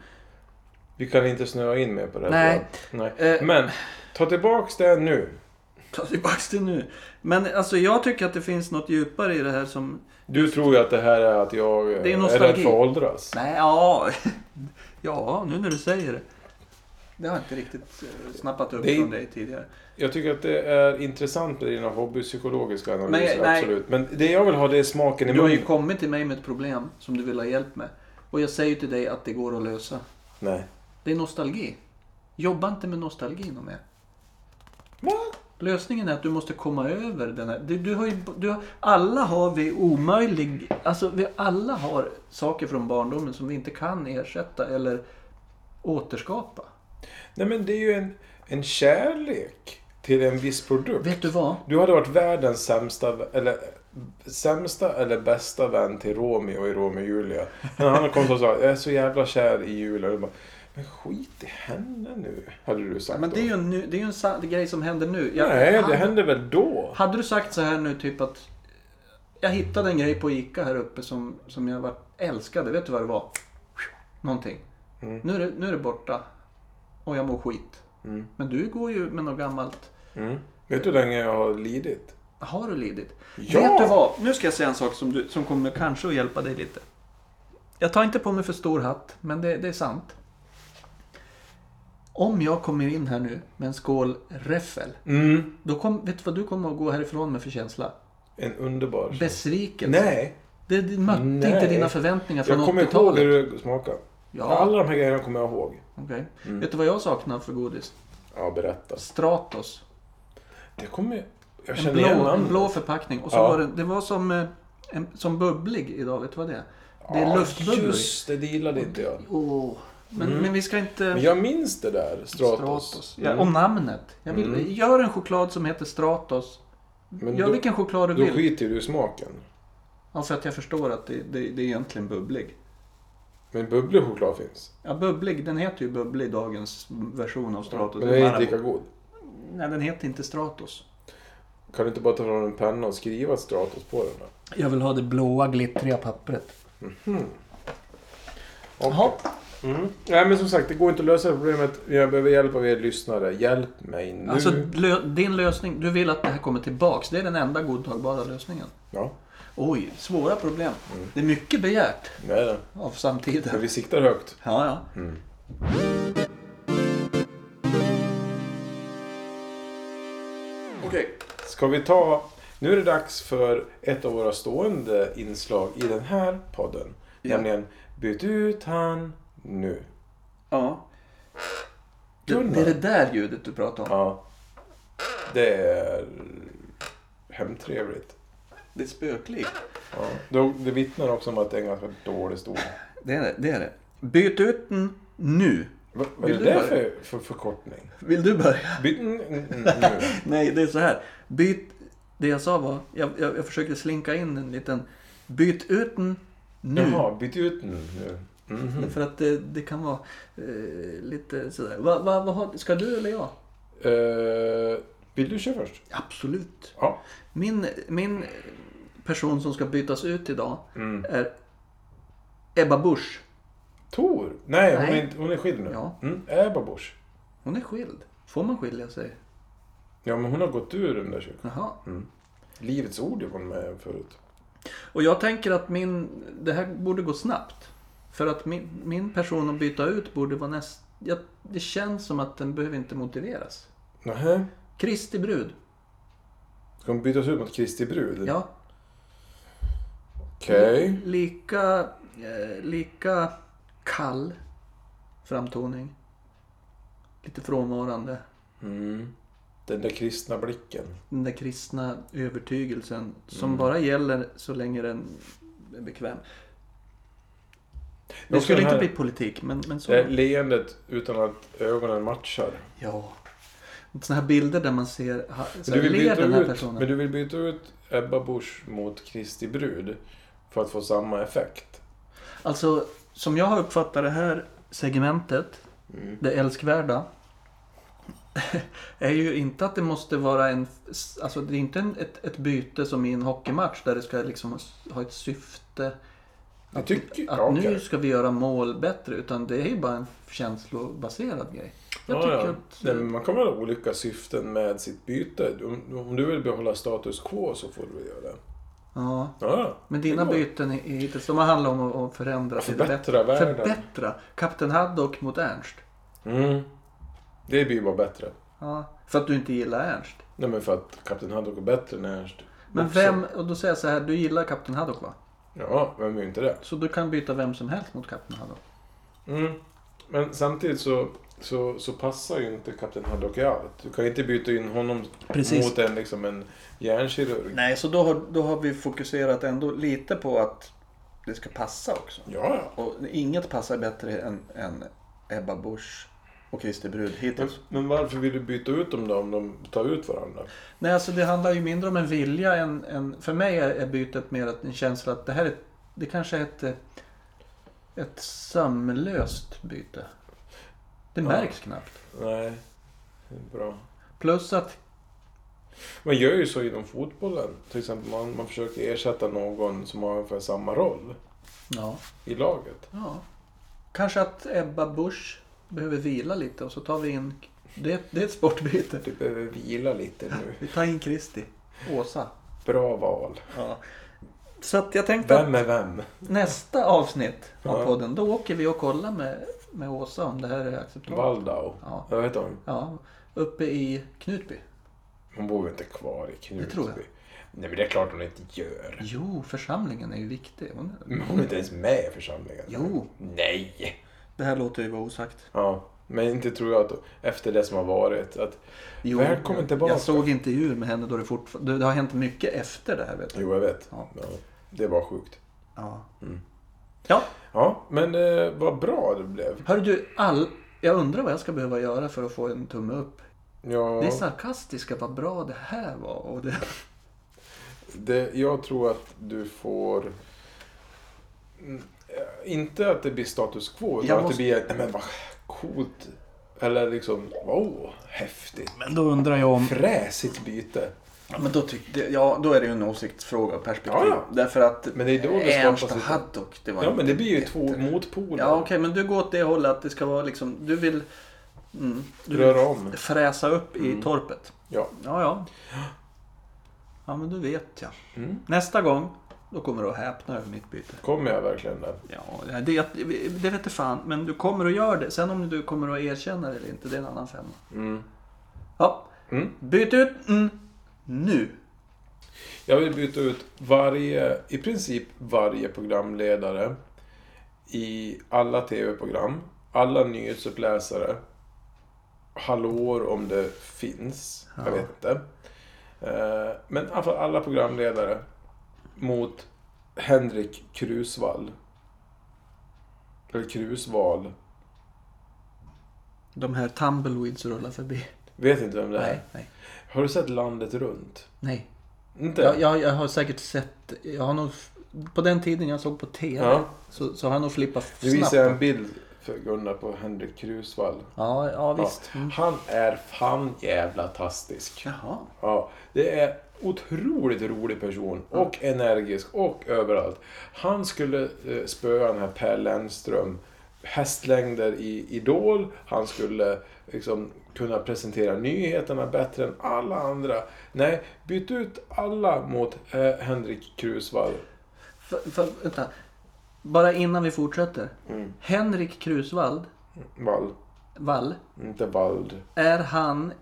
Vi kan inte snöa in mer på det här. Nej. tror jag. Nej. Eh. Men ta tillbaks det nu. Ta tillbaks det nu. Men alltså jag tycker att det finns något djupare i det här som... Du tror ju att det här är att jag eh, Det är är nostalgi. rädd för att åldras. Nej, ja... Ja, nu när du säger det. Det har jag inte riktigt eh, snappat upp Det är- från dig tidigare. Jag tycker att det är intressant med dina hobbypsykologiska analyser, nej. absolut. Men det jag vill ha det är smaken i Du har ju munnen. kommit till mig med ett problem som du vill ha hjälp med. Och jag säger till dig att det går att lösa. Nej. Det är nostalgi. Jobba inte med nostalgin och mer. Va? Lösningen är att du måste komma över den här. Du, du har ju, du har, alla har vi omöjlig... Alltså vi alla har saker från barndomen som vi inte kan ersätta eller återskapa. Nej men det är ju en, en kärlek till en viss produkt. Vet du vad? Du hade varit världens sämsta, v- eller sämsta eller bästa vän till Romeo i Romeo och Julia. När han kom och sa jag är så jävla kär i Julia. Och du bara, men skit i henne nu, hade du sagt Men det är ju en, nu, det är ju en sa- grej som händer nu. då. Jag, Nej, det hade, hände väl då? hade du sagt så här nu typ att jag hittade en grej på ICA här uppe som, som jag var, älskade. Vet du vad det var? Någonting. Mm. Nu, är det, nu är det borta. Och jag mår skit. Men du går ju med något gammalt. Mm. Vet du hur länge jag har lidit? Har du lidit? Ja! Vet du vad? Nu ska jag säga en sak som, du, som kommer kanske att hjälpa dig lite. Jag tar inte på mig för stor hatt, men det, det är sant. Om jag kommer in här nu med en skål räffel, Mm. då kom, vet du vad du kommer att gå härifrån med för känsla? En underbar Besvikelse. Nej, Det, det mötte Nej. inte dina förväntningar från jag kommer ihåg 80-talet. hur det smakade. Ja. Alla de här grejerna kommer jag ihåg. Okej. Mm. Vet du vad jag saknar för godis? Ja, berätta. Stratos. Det kommer jag... Jag En känner blå, igen en namnet. blå förpackning. Och så Ja. var det, det var som, eh, en, som bubblig idag, vet du vad det är? Det är Ja, luftbubblor. Just det, det gillade inte jag. Åh. Men, men vi ska inte... Men jag minns det där, Stratos. Mm. Ja, och namnet. Jag vill, Gör en choklad som heter Stratos. Men gör då, vilken choklad du då vill. skiter du i smaken. Ja, för att jag förstår att det, det, det är egentligen bubblig. Men bubblig choklad finns. Ja, bubblig. Den heter ju bubblig, dagens version av Stratos. Men den är inte Marabou. lika god. Nej, den heter inte Stratos. Kan du inte bara ta fram en penna och skriva Stratos på den? Då? Jag vill ha det blåa glittriga pappret. Jaha. Mm. Nej men som sagt, det går inte att lösa problemet. Jag behöver hjälp av er lyssnare. Hjälp mig nu. Alltså, lö, din lösning. Du vill att det här kommer tillbaks. Det är den enda godtagbara lösningen. Ja, Oj, svåra problem. Det är mycket begärt det är det. av Men samtiden. Mm. vi siktar högt. Ja, ja. Okej. Ska vi ta... Nu är det dags för ett av våra stående inslag i den här podden. Ja. Nämligen Byt ut han nu. Ja. Det, det är det där ljudet du pratar om. Ja. Det är hemtrevligt. Det är spöklikt. Ja. Då- Det vittnar också om att det är en ganska dålig stol. Det är det. det, är det. Byt ut den nu. Vad vad Vill är det du där börja? för, för förkortning? Vill du börja? Byt mm, mm, mm, nu. Nej, det är så här. Byt... Det jag sa var, jag, jag, jag försökte slinka in en liten... Byt ut den nu. Jaha, byt ut nu. nu. Mhm. För att det, det kan vara eh, lite sådär. Va, va, vad har- ska du eller jag? Eh, vill du köra först? Absolut. Ja. Min, min person som ska bytas ut idag Mm. är Ebba Busch. Tor? Nej, Hon, Nej. är, inte- hon är skild nu. Ja. Mm, Ebba Busch. Hon är skild. Får man skilja sig? Ja, men hon har gått ur den där kyrkan. Jaha. Livets ord var hon med förut. Och jag tänker att min, det här borde gå snabbt. För att min, min person att byta ut borde vara näst... Jag, det känns som att den behöver inte motiveras. Nähä. Kristi brud. Ska hon bytas ut mot Kristi brud? Ja. Okej. Lika, eh, lika kall framtoning. Lite frånvarande. Mm. Den där kristna blicken. Den där kristna övertygelsen som Mm. bara gäller så länge den är bekväm. Det också skulle den inte här- Eh. bli politik, men, men så. Det här leendet utan att ögonen matchar. Ja. Sådana här bilder där man ser, ha- så Men du, här, vill ler den byta här ut, personen. men du vill byta ut Ebba Busch mot Kristi brud för att få samma effekt. Alltså, som jag har uppfattat det här segmentet, Mm. det älskvärda, är ju inte att det måste vara en... Alltså det är inte en, ett, ett byte som i en hockeymatch där det ska liksom ha ett syfte. Jag tycker... Att ja, okej. nu ska vi göra mål bättre. Utan det är ju bara en känslobaserad grej. Jag Ja, tycker ja. att... Nej, men man kan väl ha olika syften med sitt byte. Om, om du vill behålla status quo så får du väl göra det. Ja, Ja, men det dina går. byten är- är hittills, de har handlat om att- att förändra till det bättre. Förbättra världen. Förbättra! Kapten Haddock mot Ernst. Mm. Det blir ju bara bättre. Ja, för att du inte gillar Ernst. Nej, men för att Kapten Haddock är bättre än Ernst. Men också. vem, och då säger jag så här, du gillar Kapten Haddock va? Ja, vem gör inte det? Så du kan byta vem som helst mot Kapten Haddock. Mm. Men samtidigt så, så, så passar ju inte Kapten Haddock i allt. Du kan inte byta in honom Precis. mot en, liksom, en hjärnkirurg. Nej, så då har, då har vi fokuserat ändå lite på att det ska passa också. Ja, ja. Och inget passar bättre än, än Ebba Busch och Christer Brud Men, hittills. men varför vill du byta ut dem då om de tar ut varandra? Nej, alltså det handlar ju mindre om en vilja än... än för mig är, är bytet mer att en känsla att det här är... Det kanske är ett, eh, ett sömlöst byte. Det Ja. märks knappt. Nej, det är bra. Plus att... Man gör ju så inom fotbollen. Till exempel man, man försöker ersätta någon som har ungefär samma roll Ja. i laget. Ja. Kanske att Ebba Busch behöver vila lite och så tar vi in... Det, det är ett sportbyte. Du Typ behöver vila lite nu. Vi tar in Kristi. Åsa. Bra val. Ja. Så att jag tänkte att Vem är vem? nästa avsnitt av Ja. podden, då åker vi och kollar med, med Åsa om det här är acceptabelt. Waldau. Ja. Jag vet hon. Ja, uppe i Knutby. Hon bor väl inte kvar i Knutby? Det tror jag. Nej men det är klart hon inte gör. Jo, församlingen är ju viktig. Hon är- Men hon är inte ens med i församlingen. Jo. Nej. Det här låter ju vara osagt. Ja. Men inte tror jag att efter det som har varit att... Jo, Välkommen tillbaka. Jag såg intervjuer med henne då det fortfarande... Det har hänt mycket efter det här vet du. Jo jag vet. Ja. Ja. Det var sjukt. Ja. Mm. Ja, Ja men eh, vad bra det blev. Hör du, all... jag undrar vad jag ska behöva göra för att få en tumme upp. Ja, Det är sarkastiska, vad bra det här var. Och det... det, jag tror att du får... Mm, eh, Inte att det blir status quo utan Jag att måste- det blir... Nej men vad coolt. Eller liksom, wow, häftigt. Men då undrar jag om... Fräsigt byte. Men då, tyck... det- ja, då är det ju en åsiktsfråga och perspektiv. Ja, ja. Därför att Men det är då det Ernst och skapas lite- Haddock, det var Ja inte men det blir ju jätte- två motpoler. Ja okej, men du går åt det hållet att det ska vara liksom, du vill... Mm, du vill Röra om. fräsa upp Mm. i torpet. Ja. Ja, ja. Ja, men du vet jag. Mm. Nästa gång, då kommer du att häpna över mitt byte. Kommer jag verkligen där? Ja, det, det vet jag fan. Men du kommer att göra det. Sen om du kommer att erkänna det eller inte, det är en annan femma. Mm. Ja, Mm. byt ut mm, nu. Jag vill byta ut varje, i princip varje programledare i alla tv-program, alla nyhetsuppläsare, hallåor om det finns, jag Ja. vet inte. Eh, Men i alla fall alla programledare mot Henrik Krusvall. Eller Krusval. De här tumbleweeds rullar förbi. Vet inte vem det är. Nej, nej. Har du sett Landet runt? nej. Inte? Jag, jag, jag har säkert sett, jag har nog, på den tiden jag såg på TV Ja. så, så har jag nog flippat Nu snabbt. visar jag en bild för Gunnar på Henrik Krusvall. Ja, ja visst. Mm. Han är fan jävla tastisk. Jaha. Ja, det är otroligt rolig person och energisk och överallt. Han skulle eh, spöa den här Per Lernström hästlängder i Idol. Han skulle liksom kunna presentera nyheterna bättre än alla andra. Nej, byt ut alla mot eh, Henrik Krusvall. För, för, vänta. Bara innan vi fortsätter. Mm. Henrik Krusvall, Wall, Wall, inte Vald. är han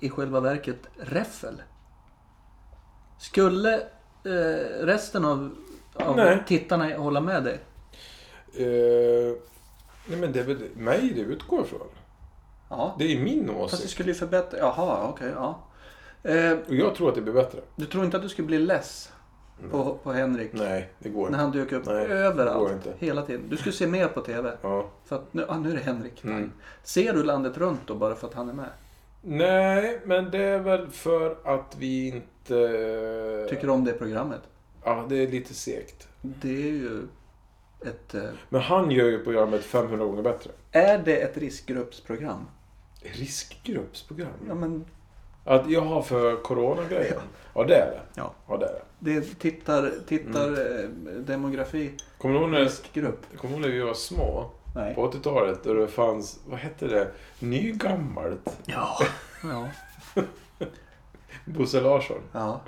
i själva verket räffel? Skulle eh, resten av, av Nej. tittarna hålla med dig? Eh, nej men det är väl mig det utgår ifrån. Ja. Det är min Fast det åsikt. skulle ju förbättra... Jaha, okej. ja. Eh, Och jag tror att det blir bättre. du tror inte att du skulle bli less på, på Henrik? Nej, det går När inte. han dök upp Nej, det går överallt. inte. Hela tiden. Du skulle se mer på TV. Ja. För att nu, ah, nu är det Henrik. Mm. Ser du landet runt då bara för att han är med? Nej, men det är väl för att vi inte... Tycker om det programmet? Ja, det är lite segt. Det är ju ett... eh, Men han gör ju programmet 500 gånger bättre. Är det ett riskgruppsprogram? Ja, Riskgruppsprogram? men Att jag har för coronagrejen? Ja, det är det. Ja. ja det, är det det. tittar, tittar Mm. eh, demografi. Kommer du ihåg när, Riskgrupp. kommer du ihåg när vi var små? Nej. På 80-talet då det fanns, vad hette det? Nygammalt? Ja. ja. Bosse Larsson. Ja.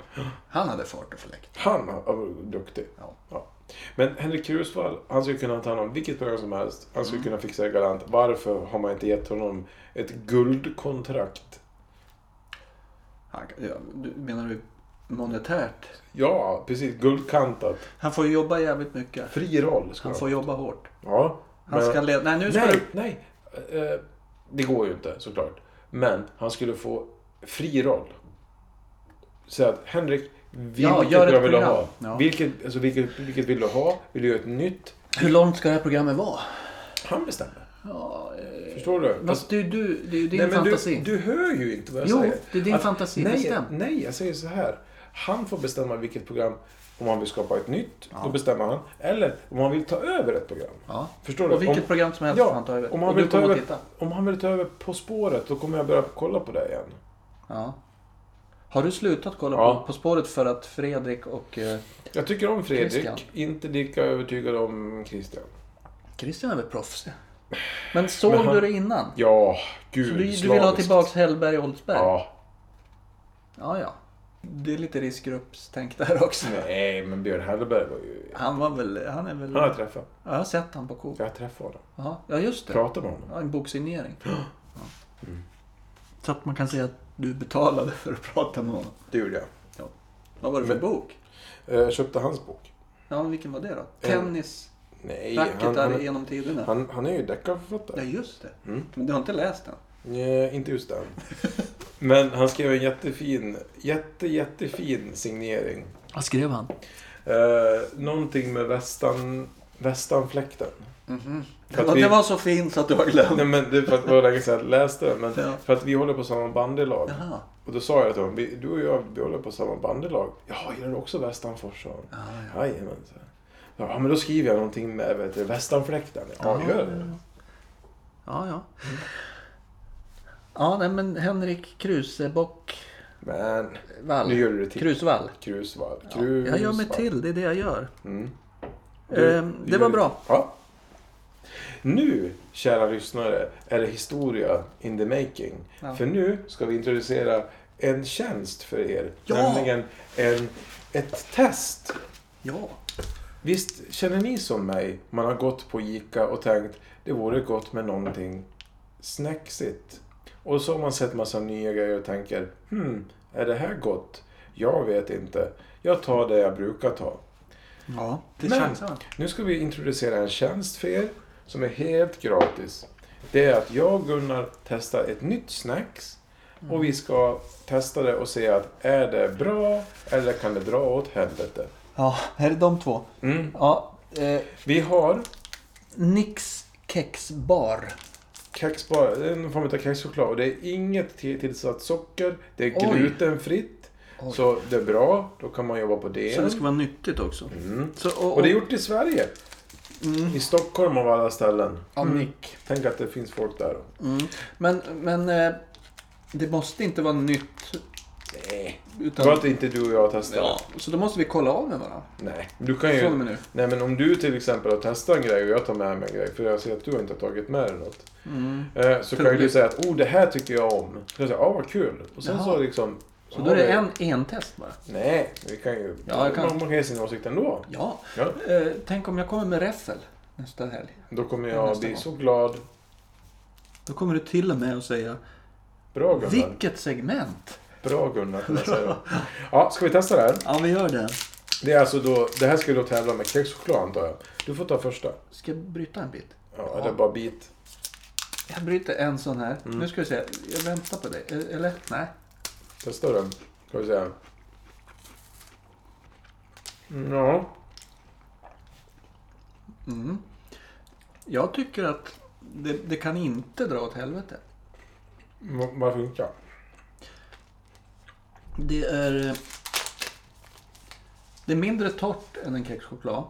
Han hade fart och fläkt. Han var duktig. Ja. Men Henrik Krusvall, han skulle kunna ta hand om vilket program som helst. Han Mm. skulle kunna fixa det galant. Varför har man inte gett honom ett guldkontrakt? Han, ja, du, menar du monetärt? Ja, precis. Guldkantat. Han får ju jobba jävligt mycket. Fri roll ska Han får jobba hårt. Ja. Han men- ska leda... Nej, nu ska Nej, du... nej. Eh, Det går ju inte såklart. Men han skulle få fri roll. Så att Henrik, Ja, vilket gör ett jag vill du program. ha? Ja. Vilket, alltså, vilket, vilket vill du ha? Vill du göra ett nytt? Hur långt ska det här programmet vara? Han bestämmer. Ja, eh, Förstår du? Alltså, fast det är ju du, det är ju din Nej, men fantasi. Du, du hör ju inte vad jag Jo, säger. det är din fantasi, nej, bestäm. Nej, jag säger så här. Han får bestämma vilket program, om han vill skapa ett nytt, då bestämmer han. Eller om han vill ta över ett program. Ja. Förstår du? Och vilket om, program som helst får han ta över. Om han, Och du vill ta kommer över att titta. om han vill ta över På spåret, då kommer jag börja kolla på det igen. Ja. Har du slutat kolla Ja. på På spåret för att Fredrik och... Eh, Jag tycker om Fredrik, Christian. inte lika övertygad om Christian. Christian är väl proffsig? Men såg du det innan? Ja, gud. Så du, du vill ha slaviskt. tillbaks Hellberg och Oldsberg? Ja. ja, ja. Det är lite riskgruppstänk där också. Nej, men Björn Hellberg var ju... Han var väl... Han är väl... Han har Ja, jag träffat. jag har sett han på Coop. Jag har träffat honom. Ja, ja just det. Pratat med honom. Ja, en boksignering. Ja. Mm. Så att man kan säga att du betalade för att prata med honom. Det gjorde jag. Ja. Vad var det för Men- bok? Eh, Jag köpte hans bok. Ja, men vilken var det då? Tennis? Nej, Eh, han, Racketar han, genom tiderna? han, Mm. han är ju Ja, deckarförfattare. just det. Men du har inte läst den? Nej, Eh, inte just den. Men han skrev en jättefin, jätte, jättefin signering. Vad skrev han? Eh, någonting med västan, västanfläkten. För Det att var, vi- det var så fint så att du har glömt. Nej, men det är för att det var länge sedan jag läste den. Men Ja. För att vi håller på samma bandylag. Jaha. Och då sa jag till honom, vi, du och jag vi håller på samma bandylag. Ja, gillar du också Västanfors? sa han. Ja, ja. Jajamän, så. Ja, men då skriver jag någonting med vet du, västanfläkten. Ja, Ja, gör ja, det. ja. Ja, ja. Ja, nej men Henrik Krusebock Men Wall. nu gör du det till. Krusvall. Krusvall. Ja, Krusvall. jag gör mig till, det är det jag gör. Mm. Ehm, det var bra. Ja. Nu, kära lyssnare, är det historia in the making. Ja. För nu ska vi introducera en tjänst för er. Ja! Nämligen en, ett test. Ja. Visst känner ni som mig? Man har gått på Ica och tänkt det vore gott med någonting snäcksigt. Och så har man sett massa nya grejer och tänker hmm, är det här gott? Jag vet inte. Jag tar det jag brukar ta. Ja, det Men- känns så. Nu ska vi introducera en tjänst för er som är helt gratis. Det är att jag och Gunnar testar ett nytt snacks och vi ska testa det och se att är det bra eller kan det dra åt helvete. Ja, här är de två. Mm. Ja, eh, Vi har Nix Kexbar. kexbar, det är en form av kexchoklad. Och det är inget till- tillsatt socker. Det är Oj. glutenfritt. Oj. Så det är bra. Då kan man jobba på Så det det. ska vara nyttigt också. Mm. Så, och, Och det är gjort i Sverige. Mm. I Stockholm av alla ställen. Mm. Nick. Tänk att det finns folk där. Mm. Men, men eh, det måste inte vara nytt. Nej. Utan, Bara att inte du och jag testar ja, det. så då måste vi kolla av med varandra. Nej. Du kan Från och ju... med nu. Nej men om du till exempel har testat en grej och jag tar med mig en grej. För jag ser att du inte har tagit med dig något. Mm. Eh, Så kan ju du Troligt. säga att oh det här tycker jag om. Så jag säger ja vad kul. Och sen Jaha. så liksom. Så då är det en, en test bara. Nej, vi kan ju... Ja, jag kan. Man, man kan ge sin åsikt ändå. Ja. Ja. Eh, tänk om jag kommer med räffel nästa helg. Då kommer Ja, jag nästa bli gång. så glad. Då kommer du till och med att säga Bra Gunnar. Vilket segment? Bra Gunnar kan jag säga. Ja, ska vi testa det här? Ja, vi gör det. Det, är alltså då, det här ska ju då tävla med kexchoklad antar jag. Du får ta första. Ska jag bryta en bit? Ja, Ja. Eller bara bit. Jag bryter en sån här. Mm. Nu ska vi se. Jag väntar på dig. E- Eller? Nej. Testa den. Ska vi se. Mm, Ja. Mm. Jag tycker att det, det kan inte dra åt helvete. Va- Varför inte? Det är... eh, Det är mindre torrt än en kexchoklad.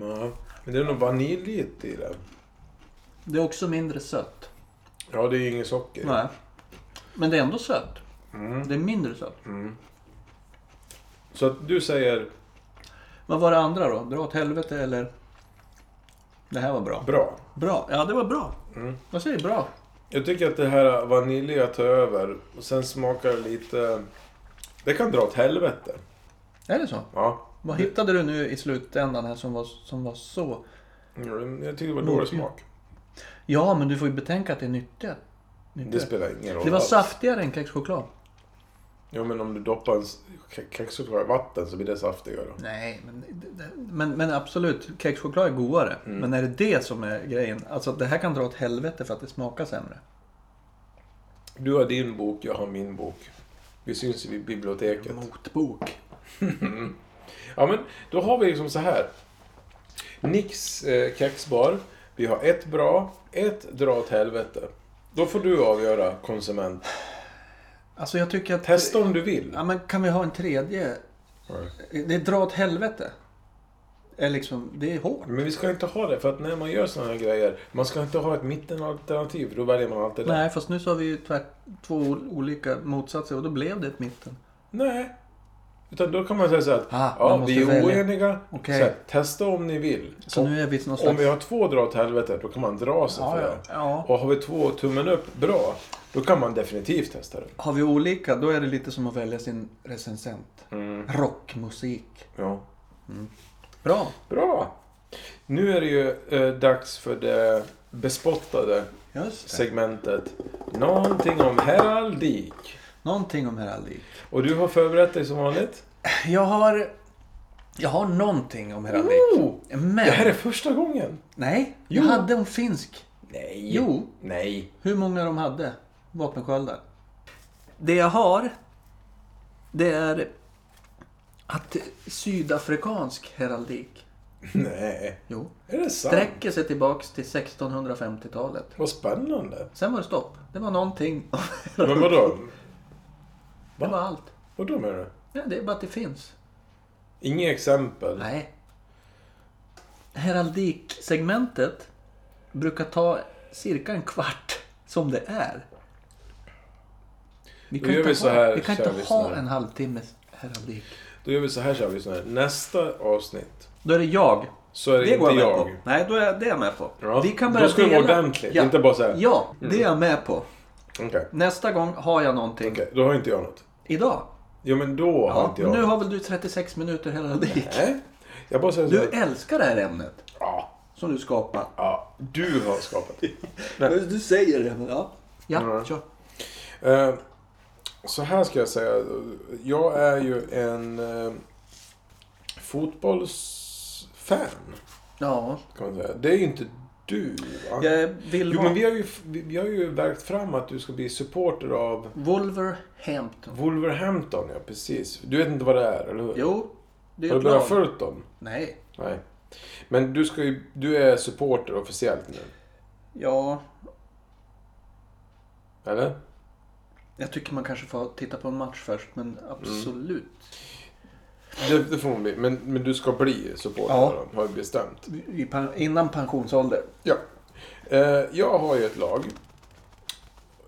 Ja. Men det är nog vaniljigt i det. Det är också mindre sött. Ja, det är ju inget socker. Nej. Men det är ändå sött. Mm. Det är mindre sött. Så att du säger Vad var det andra då? Dra åt helvete eller? Det här var bra. bra. Bra. Ja, det var bra. Mm. Jag säger bra. Jag tycker att det här vaniljiga tar över. Och sen smakar det lite... Det kan dra åt helvete. Är det så? Ja. Vad hittade du nu i slutändan här som var, som var så? Mm, Jag tycker det var dålig Mm. smak. Ja, men du får ju betänka att det är nyttigt. Det spelar ingen roll Det var alls. saftigare än kexchoklad. Jo men om du doppar en s- ke- kexchoklad i vatten så blir det saftigare. Nej, men, men, men absolut. Kexchoklad är godare. Mm. Men är det det som är grejen? Alltså det här kan dra åt helvete för att det smakar sämre. Du har din bok, jag har min bok. Vi syns i biblioteket. Motbok. Ja men då har vi liksom så här. Nix eh, kexbar. Vi har ett bra, ett dra åt helvete. Då får du avgöra konsument. Alltså jag tycker att... Testa om du vill. Ja, men kan vi ha en tredje? Det är dra åt helvete. Är liksom, det är hårt. Men vi ska inte ha det för att när man gör sådana här grejer. Man ska inte ha ett mittenalternativ för då väljer man alltid det. Nej, fast nu så har vi ju tvärt, två ol- olika motsatser och då blev det ett mitten. Nej. Utan då kan man säga så här att Ah, man ja, måste vi är välja. oeniga. Okej. Så här, testa om ni vill. Så om, nu är vi någon om slags... vi har två dra åt helvete, då kan man dra sig ja, för ja, det. ja. Och har vi två tummen upp, bra. Då kan man definitivt testa det. Har vi olika, då är det lite som att välja sin recensent. Rockmusik. Ja. Bra. Bra. Nu är det ju eh, dags för det bespottade Just det. segmentet. Någonting om heraldik. Någonting om heraldik. Och du har förberett dig som vanligt. Jag har... Jag har någonting om heraldik. Oh, Men... det här är första gången. Nej, jag Jo. hade om finsk. Nej. Jo. Nej. Hur många de hade vapensköldar. Det jag har, det är att sydafrikansk heraldik Nej. jo, Är det sant? sträcker sig tillbaks till 1650-talet. Vad spännande. Sen var det stopp. Det var någonting. Men vadå? Det var allt. Vadå menar du? Ja, det är bara att det finns. Inga exempel? Nej. Heraldiksegmentet brukar ta cirka en kvart som det är. Vi Då gör vi så ha, här, vi kan kära inte ha lyssnare. en halvtimmes heraldik. Då gör vi så här, kör vi så här. Nästa avsnitt så Då är det jag. är det, Det inte går jag med jag. på. Nej, då är det är jag med på. Ja, Vi kan då börja ska det vara dela. ordentligt, inte Mm. bara så här. Ja, det är jag med på. Okej, Nästa gång har jag någonting. okej, då har inte jag något. Idag. Jo men då har Ja, inte men jag. nu har väl du 36 minuter heraldik? Nej. Jag bara säger så Du här. älskar det här ämnet Ja, som du skapar. ja, du har skapat. Du säger det. Men ja, ja Mm. kör. Eh, så här ska jag säga. Jag är ju en eh, fotbollsfan. Ja, Kan man säga. Det är ju inte du. va? Jag vill Jo ha men vi har ju, vi, vi har ju verkt fram att du ska bli supporter av Wolverhampton. Wolverhampton, ja precis. Du vet inte vad det är, eller hur? Jo, det är Har du ett börjat lag. följt dem? Nej. Nej. Men du, ska ju, du är supporter officiellt nu. Ja, Eller? jag tycker man kanske får titta på en match först, men absolut. Det, det får man bli. Men, men du ska bli supporter Ja. då, har vi bestämt. I pen- Innan pensionsålder. Ja. Eh, jag har ju ett lag.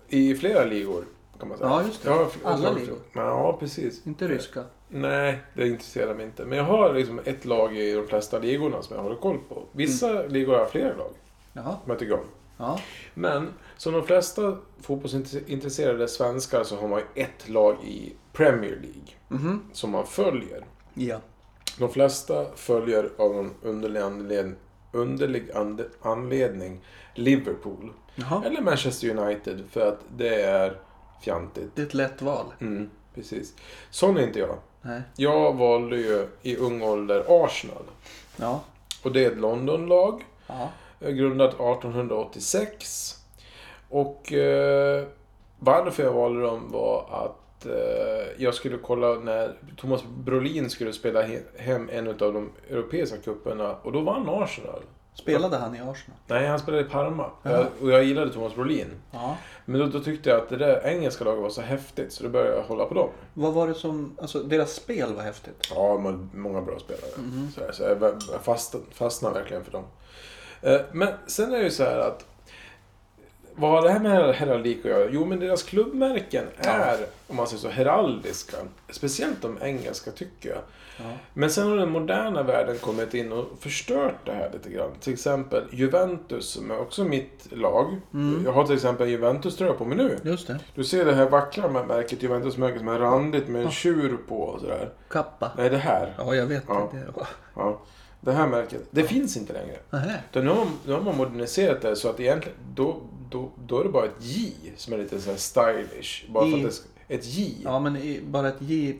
I flera ligor. Kan man säga. Ja, just det. Jag har fl- Alla jag har fl- ligor. Ja, precis. Inte ryska. Nej, det intresserar mig inte. Men jag har liksom ett lag i de flesta ligorna som jag håller koll på. Vissa Mm. ligor har jag flera lag Jaha. som jag tycker om. Ja. Men som de flesta fotbollsintresserade svenskar så har man ju ett lag i Premier League Mhm. som man följer. Ja. De flesta följer av någon underlig anledning, underlig ande- anledning Liverpool. Jaha. Eller Manchester United för att det är fjantigt. Det är ett lätt val. Mm, precis. Sån är inte jag. Nej. Jag valde ju i ung ålder Arsenal. Ja. Och det är ett Londonlag. Ja. eh, Grundat 1886. Och eh, varför jag valde dem var att eh, jag skulle kolla när Thomas Brolin skulle spela he- hem en av de europeiska cuperna. Och då vann Arsenal. Spelade han i Arsenal? Nej, han spelade i Parma. Jag, och jag gillade Thomas Brolin. Ja. Men då, då tyckte jag att det där engelska laget var så häftigt så då började jag hålla på dem. Vad var det som... Alltså, deras spel var häftigt. Ja, man, många bra spelare. Så, här, så jag var- jag fast, fastnade verkligen för dem. Eh, Men sen är det ju så här att... Vad har det här med heraldik att göra? Jo, men deras klubbmärken är, om man säger så, heraldiska. Speciellt de engelska, tycker jag. Ja. Men sen har den moderna världen kommit in och förstört det här lite grann. Till exempel Juventus, som är också mitt lag. Jag har till exempel en Juventus-tröja på mig nu. Just det. Du ser det här vackra med märket, Juventus-märket som är randigt med en tjur på och sådär. Kappa. Nej, det här. Ja, jag vet. Ja. Det. Ja. Det här märket, det finns inte längre. Nähä. Utan nu har man, nu har man moderniserat det så att egentligen, då, då, då är det bara ett J som är lite så här stylish. Bara för att J. det ska, ett J. Ja, men i, bara ett J.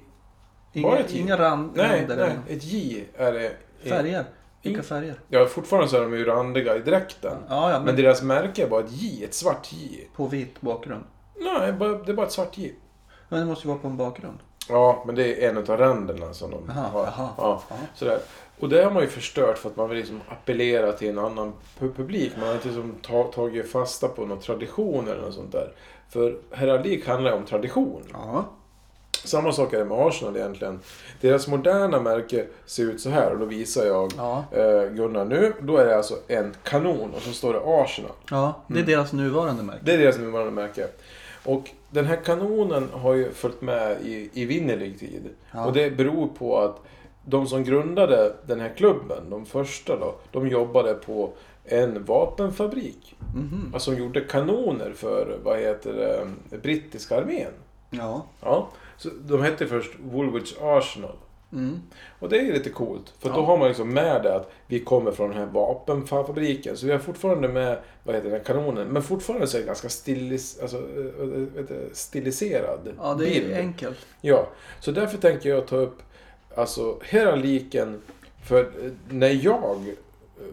Inga, Bara ett J. inga rand, nej, ränder nej, eller ett J är det. Färger? Vilka In- färger? Ja, fortfarande så är de ju randiga i dräkten. Ja, ja, men, Men deras märke är bara ett J, ett svart J. på vit bakgrund. Nej, bara, det är bara ett svart J. Men det måste ju vara på en bakgrund. Ja, men det är en av ränderna som de Jaha, har. jaha, ja, jaha. Sådär. Och det har man ju förstört för att man vill liksom appellera till en annan pu- publik. Man har inte liksom ta, tagit fasta på någon tradition eller något sånt där. För heraldik handlar ju om tradition. Ja. Samma sak är det med Arsenal egentligen. Deras moderna märke ser ut så här och då visar jag Ja, eh, Gunnar nu. Då är det alltså en kanon och så står det Arsenal. ja det är deras nuvarande märke. Det är deras nuvarande märke. Och den här kanonen har ju följt med i i evinnerlig tid. Ja. Och det beror på att de som grundade den här klubben, de första då, de jobbade på en vapenfabrik. Mhm. Alltså de gjorde kanoner för, vad heter det, brittiska armén. Ja. Ja. Så de hette först Woolwich Arsenal. Mm. Och det är lite coolt. För då Ja. har man liksom med det att vi kommer från den här vapenfabriken. Så vi har fortfarande med, vad heter den, här kanonen. Men fortfarande så är det ganska stilis, alltså, eh, vad heter det, stiliserad ja, det är bild. enkelt. Ja, så därför tänker jag ta upp alltså heraldiken. För eh, när jag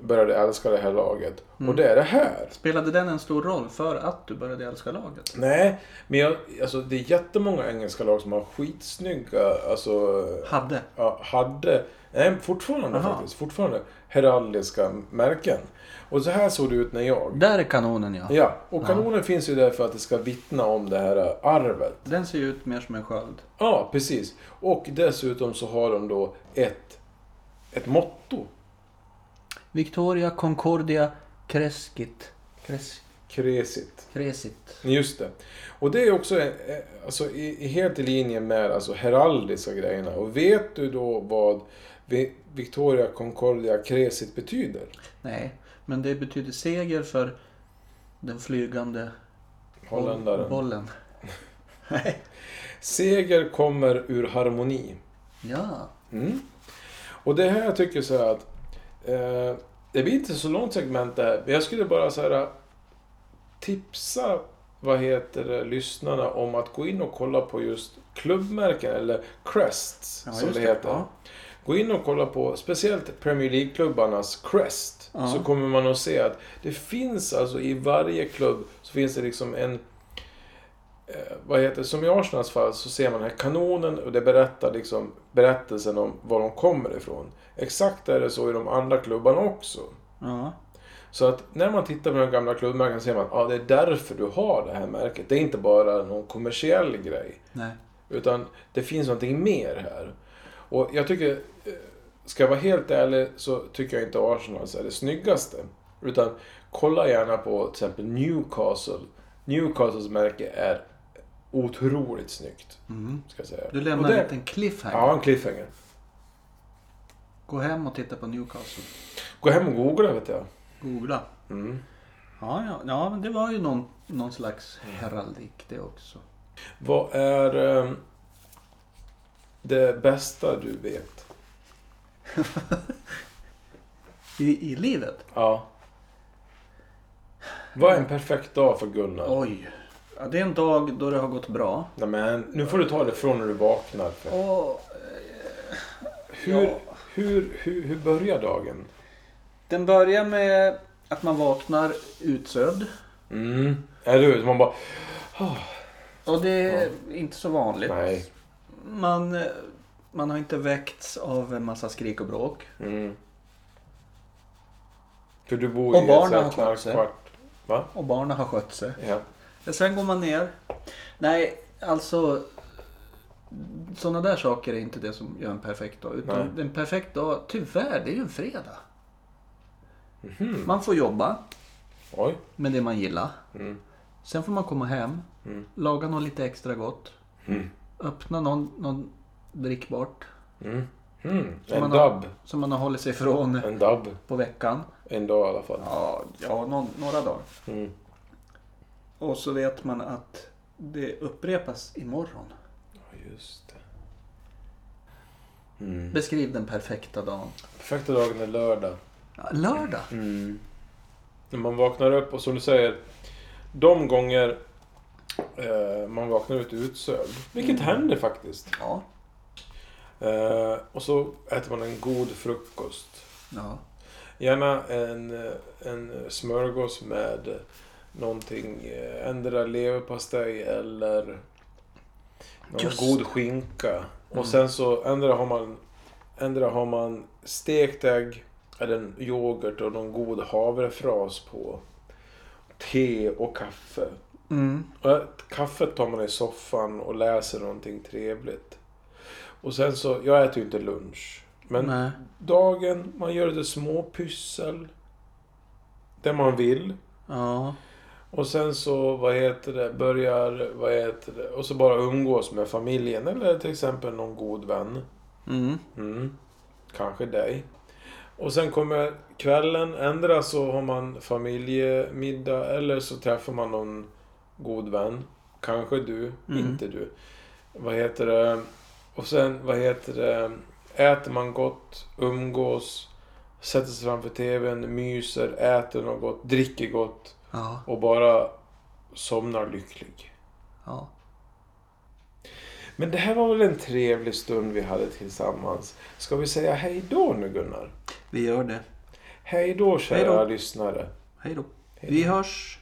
började älska det här laget. Mm. Och det är det här. Spelade den en stor roll för att du började älska laget? Nej, men jag, alltså, det är jättemånga engelska lag som har skitsnygga, alltså Hade. ja, hade, nej fortfarande Aha. faktiskt, fortfarande heraldiska märken. Och så här såg det ut när jag. Där är kanonen ja. Ja, och kanonen finns ju där för att det ska vittna om det här arvet. Den ser ju ut mer som en sköld. Ja, precis. Och dessutom så har de då ett, ett motto. Victoria Concordia Crescit. Cres- Kresit. Crescit. Just det. Och det är också eh, alltså, i, i- helt i linje med alltså, heraldiska grejerna. Och vet du då vad Vi- Victoria Concordia Kresit betyder? Nej, men det betyder seger för den flygande boll- Holländaren. bollen. Nej. Seger kommer ur harmoni. Ja. Mm. Och det här jag tycker så här att... Eh, det blir inte så långt segment det här. Men jag skulle bara så här eh, tipsa vad heter det, lyssnarna om att gå in och kolla på just klubbmärken eller crests Ja, som just det det. heter. Ja. Gå in och kolla på speciellt Premier League-klubbarnas crest. Ja. Så kommer man att se att det finns alltså i varje klubb så finns det liksom en eh, vad heter det? Som i Arsenals fall så ser man den här kanonen och det berättar liksom berättelsen om var de kommer ifrån. Exakt är det så i de andra klubbarna också. ja. Så att när man tittar på de gamla klubbmärkena ser man att ah, det är därför du har det här märket. Det är inte bara någon kommersiell grej. Nej. Utan det finns någonting mer här. Och jag tycker, eh, ska jag vara helt ärlig så tycker jag inte Arsenal är det snyggaste. Utan kolla gärna på till exempel Newcastle. Newcastles märke är otroligt snyggt. Mm. Ska jag säga. Du Och lämnar det- en liten cliffhanger. Ja, en cliffhanger. Gå hem och titta på Newcastle. Gå hem och googla vet jag. Googla. Mm. Ja, ja, ja men det var ju någon, någon slags heraldik det också. Vad är ehm, det bästa du vet? I, i livet? Ja. Vad är en perfekt dag för Gunnar? Oj. Ja, det är en dag då det har gått bra. Nej, men, nu får du ta det från när du vaknar. Och Hur, Ja. hur, hur, hur börjar dagen? den börjar med att man vaknar utsövd. Mm. Eller hur? Man bara... Och det är inte så vanligt. Nej. Man, eh, man har inte väckts av en massa skrik och bråk. Mm. För du bor Och i barnen så här har skött sig. knarkkvart. Va? Och barnen har skött sig. Ja. Sen går man ner. Nej, alltså. Sådana där saker är inte det som gör en perfekt dag. Utan Nej. en perfekt dag, tyvärr, det är ju en fredag. Man får jobba Mhm. Oj. med det man gillar. Mm. Sen får man komma hem, Mm. laga något lite extra gott. Mm. Öppna någon, någon drickbart Mm. Mm. Som En man har- dubb. som man har hållit sig ifrån En dubb. på veckan. En dag i alla fall. Ja, ja någon, några dagar. Mm. Och så vet man att det upprepas imorgon. Ja, just det. Mm. Beskriv den perfekta dagen. Perfekta dagen är lördag. Ja, Lördag. Mm. När man vaknar upp och som du säger, de gånger eh, man vaknar ut utsövd, vilket händer faktiskt. Ja. Eh, och så äter man en god frukost. ja. Gärna en, eh, en smörgås med någonting, eh, ändra leverpastej eller någon Just Mm. god skinka. Och sen så ändra har man, ändra har man stekt ägg eller en yoghurt och någon god havrefras på. Te och kaffe. Mm. Och ä- kaffet tar man i soffan och läser någonting trevligt. Och sen så, jag äter ju inte lunch. Men Nej. dagen, man gör lite små pyssel. Det man vill. Ja. Och sen så, vad heter det, börjar, vad heter det, och så bara umgås med familjen eller till exempel någon god vän. Mm. Mm. Kanske dig. Och sen kommer kvällen, ändra så har man familjemiddag eller så träffar man någon god vän. Kanske du, Mm. inte du. Vad heter det? Och sen, vad heter det? Äter man gott, umgås, sätter sig framför TVn, myser, äter något gott, dricker gott Ja. och bara somnar lycklig. ja. Men det här var väl en trevlig stund vi hade tillsammans. Ska vi säga hej då nu Gunnar? Vi gör det. Hej då kära Hej då. lyssnare. Hej då. Vi hörs.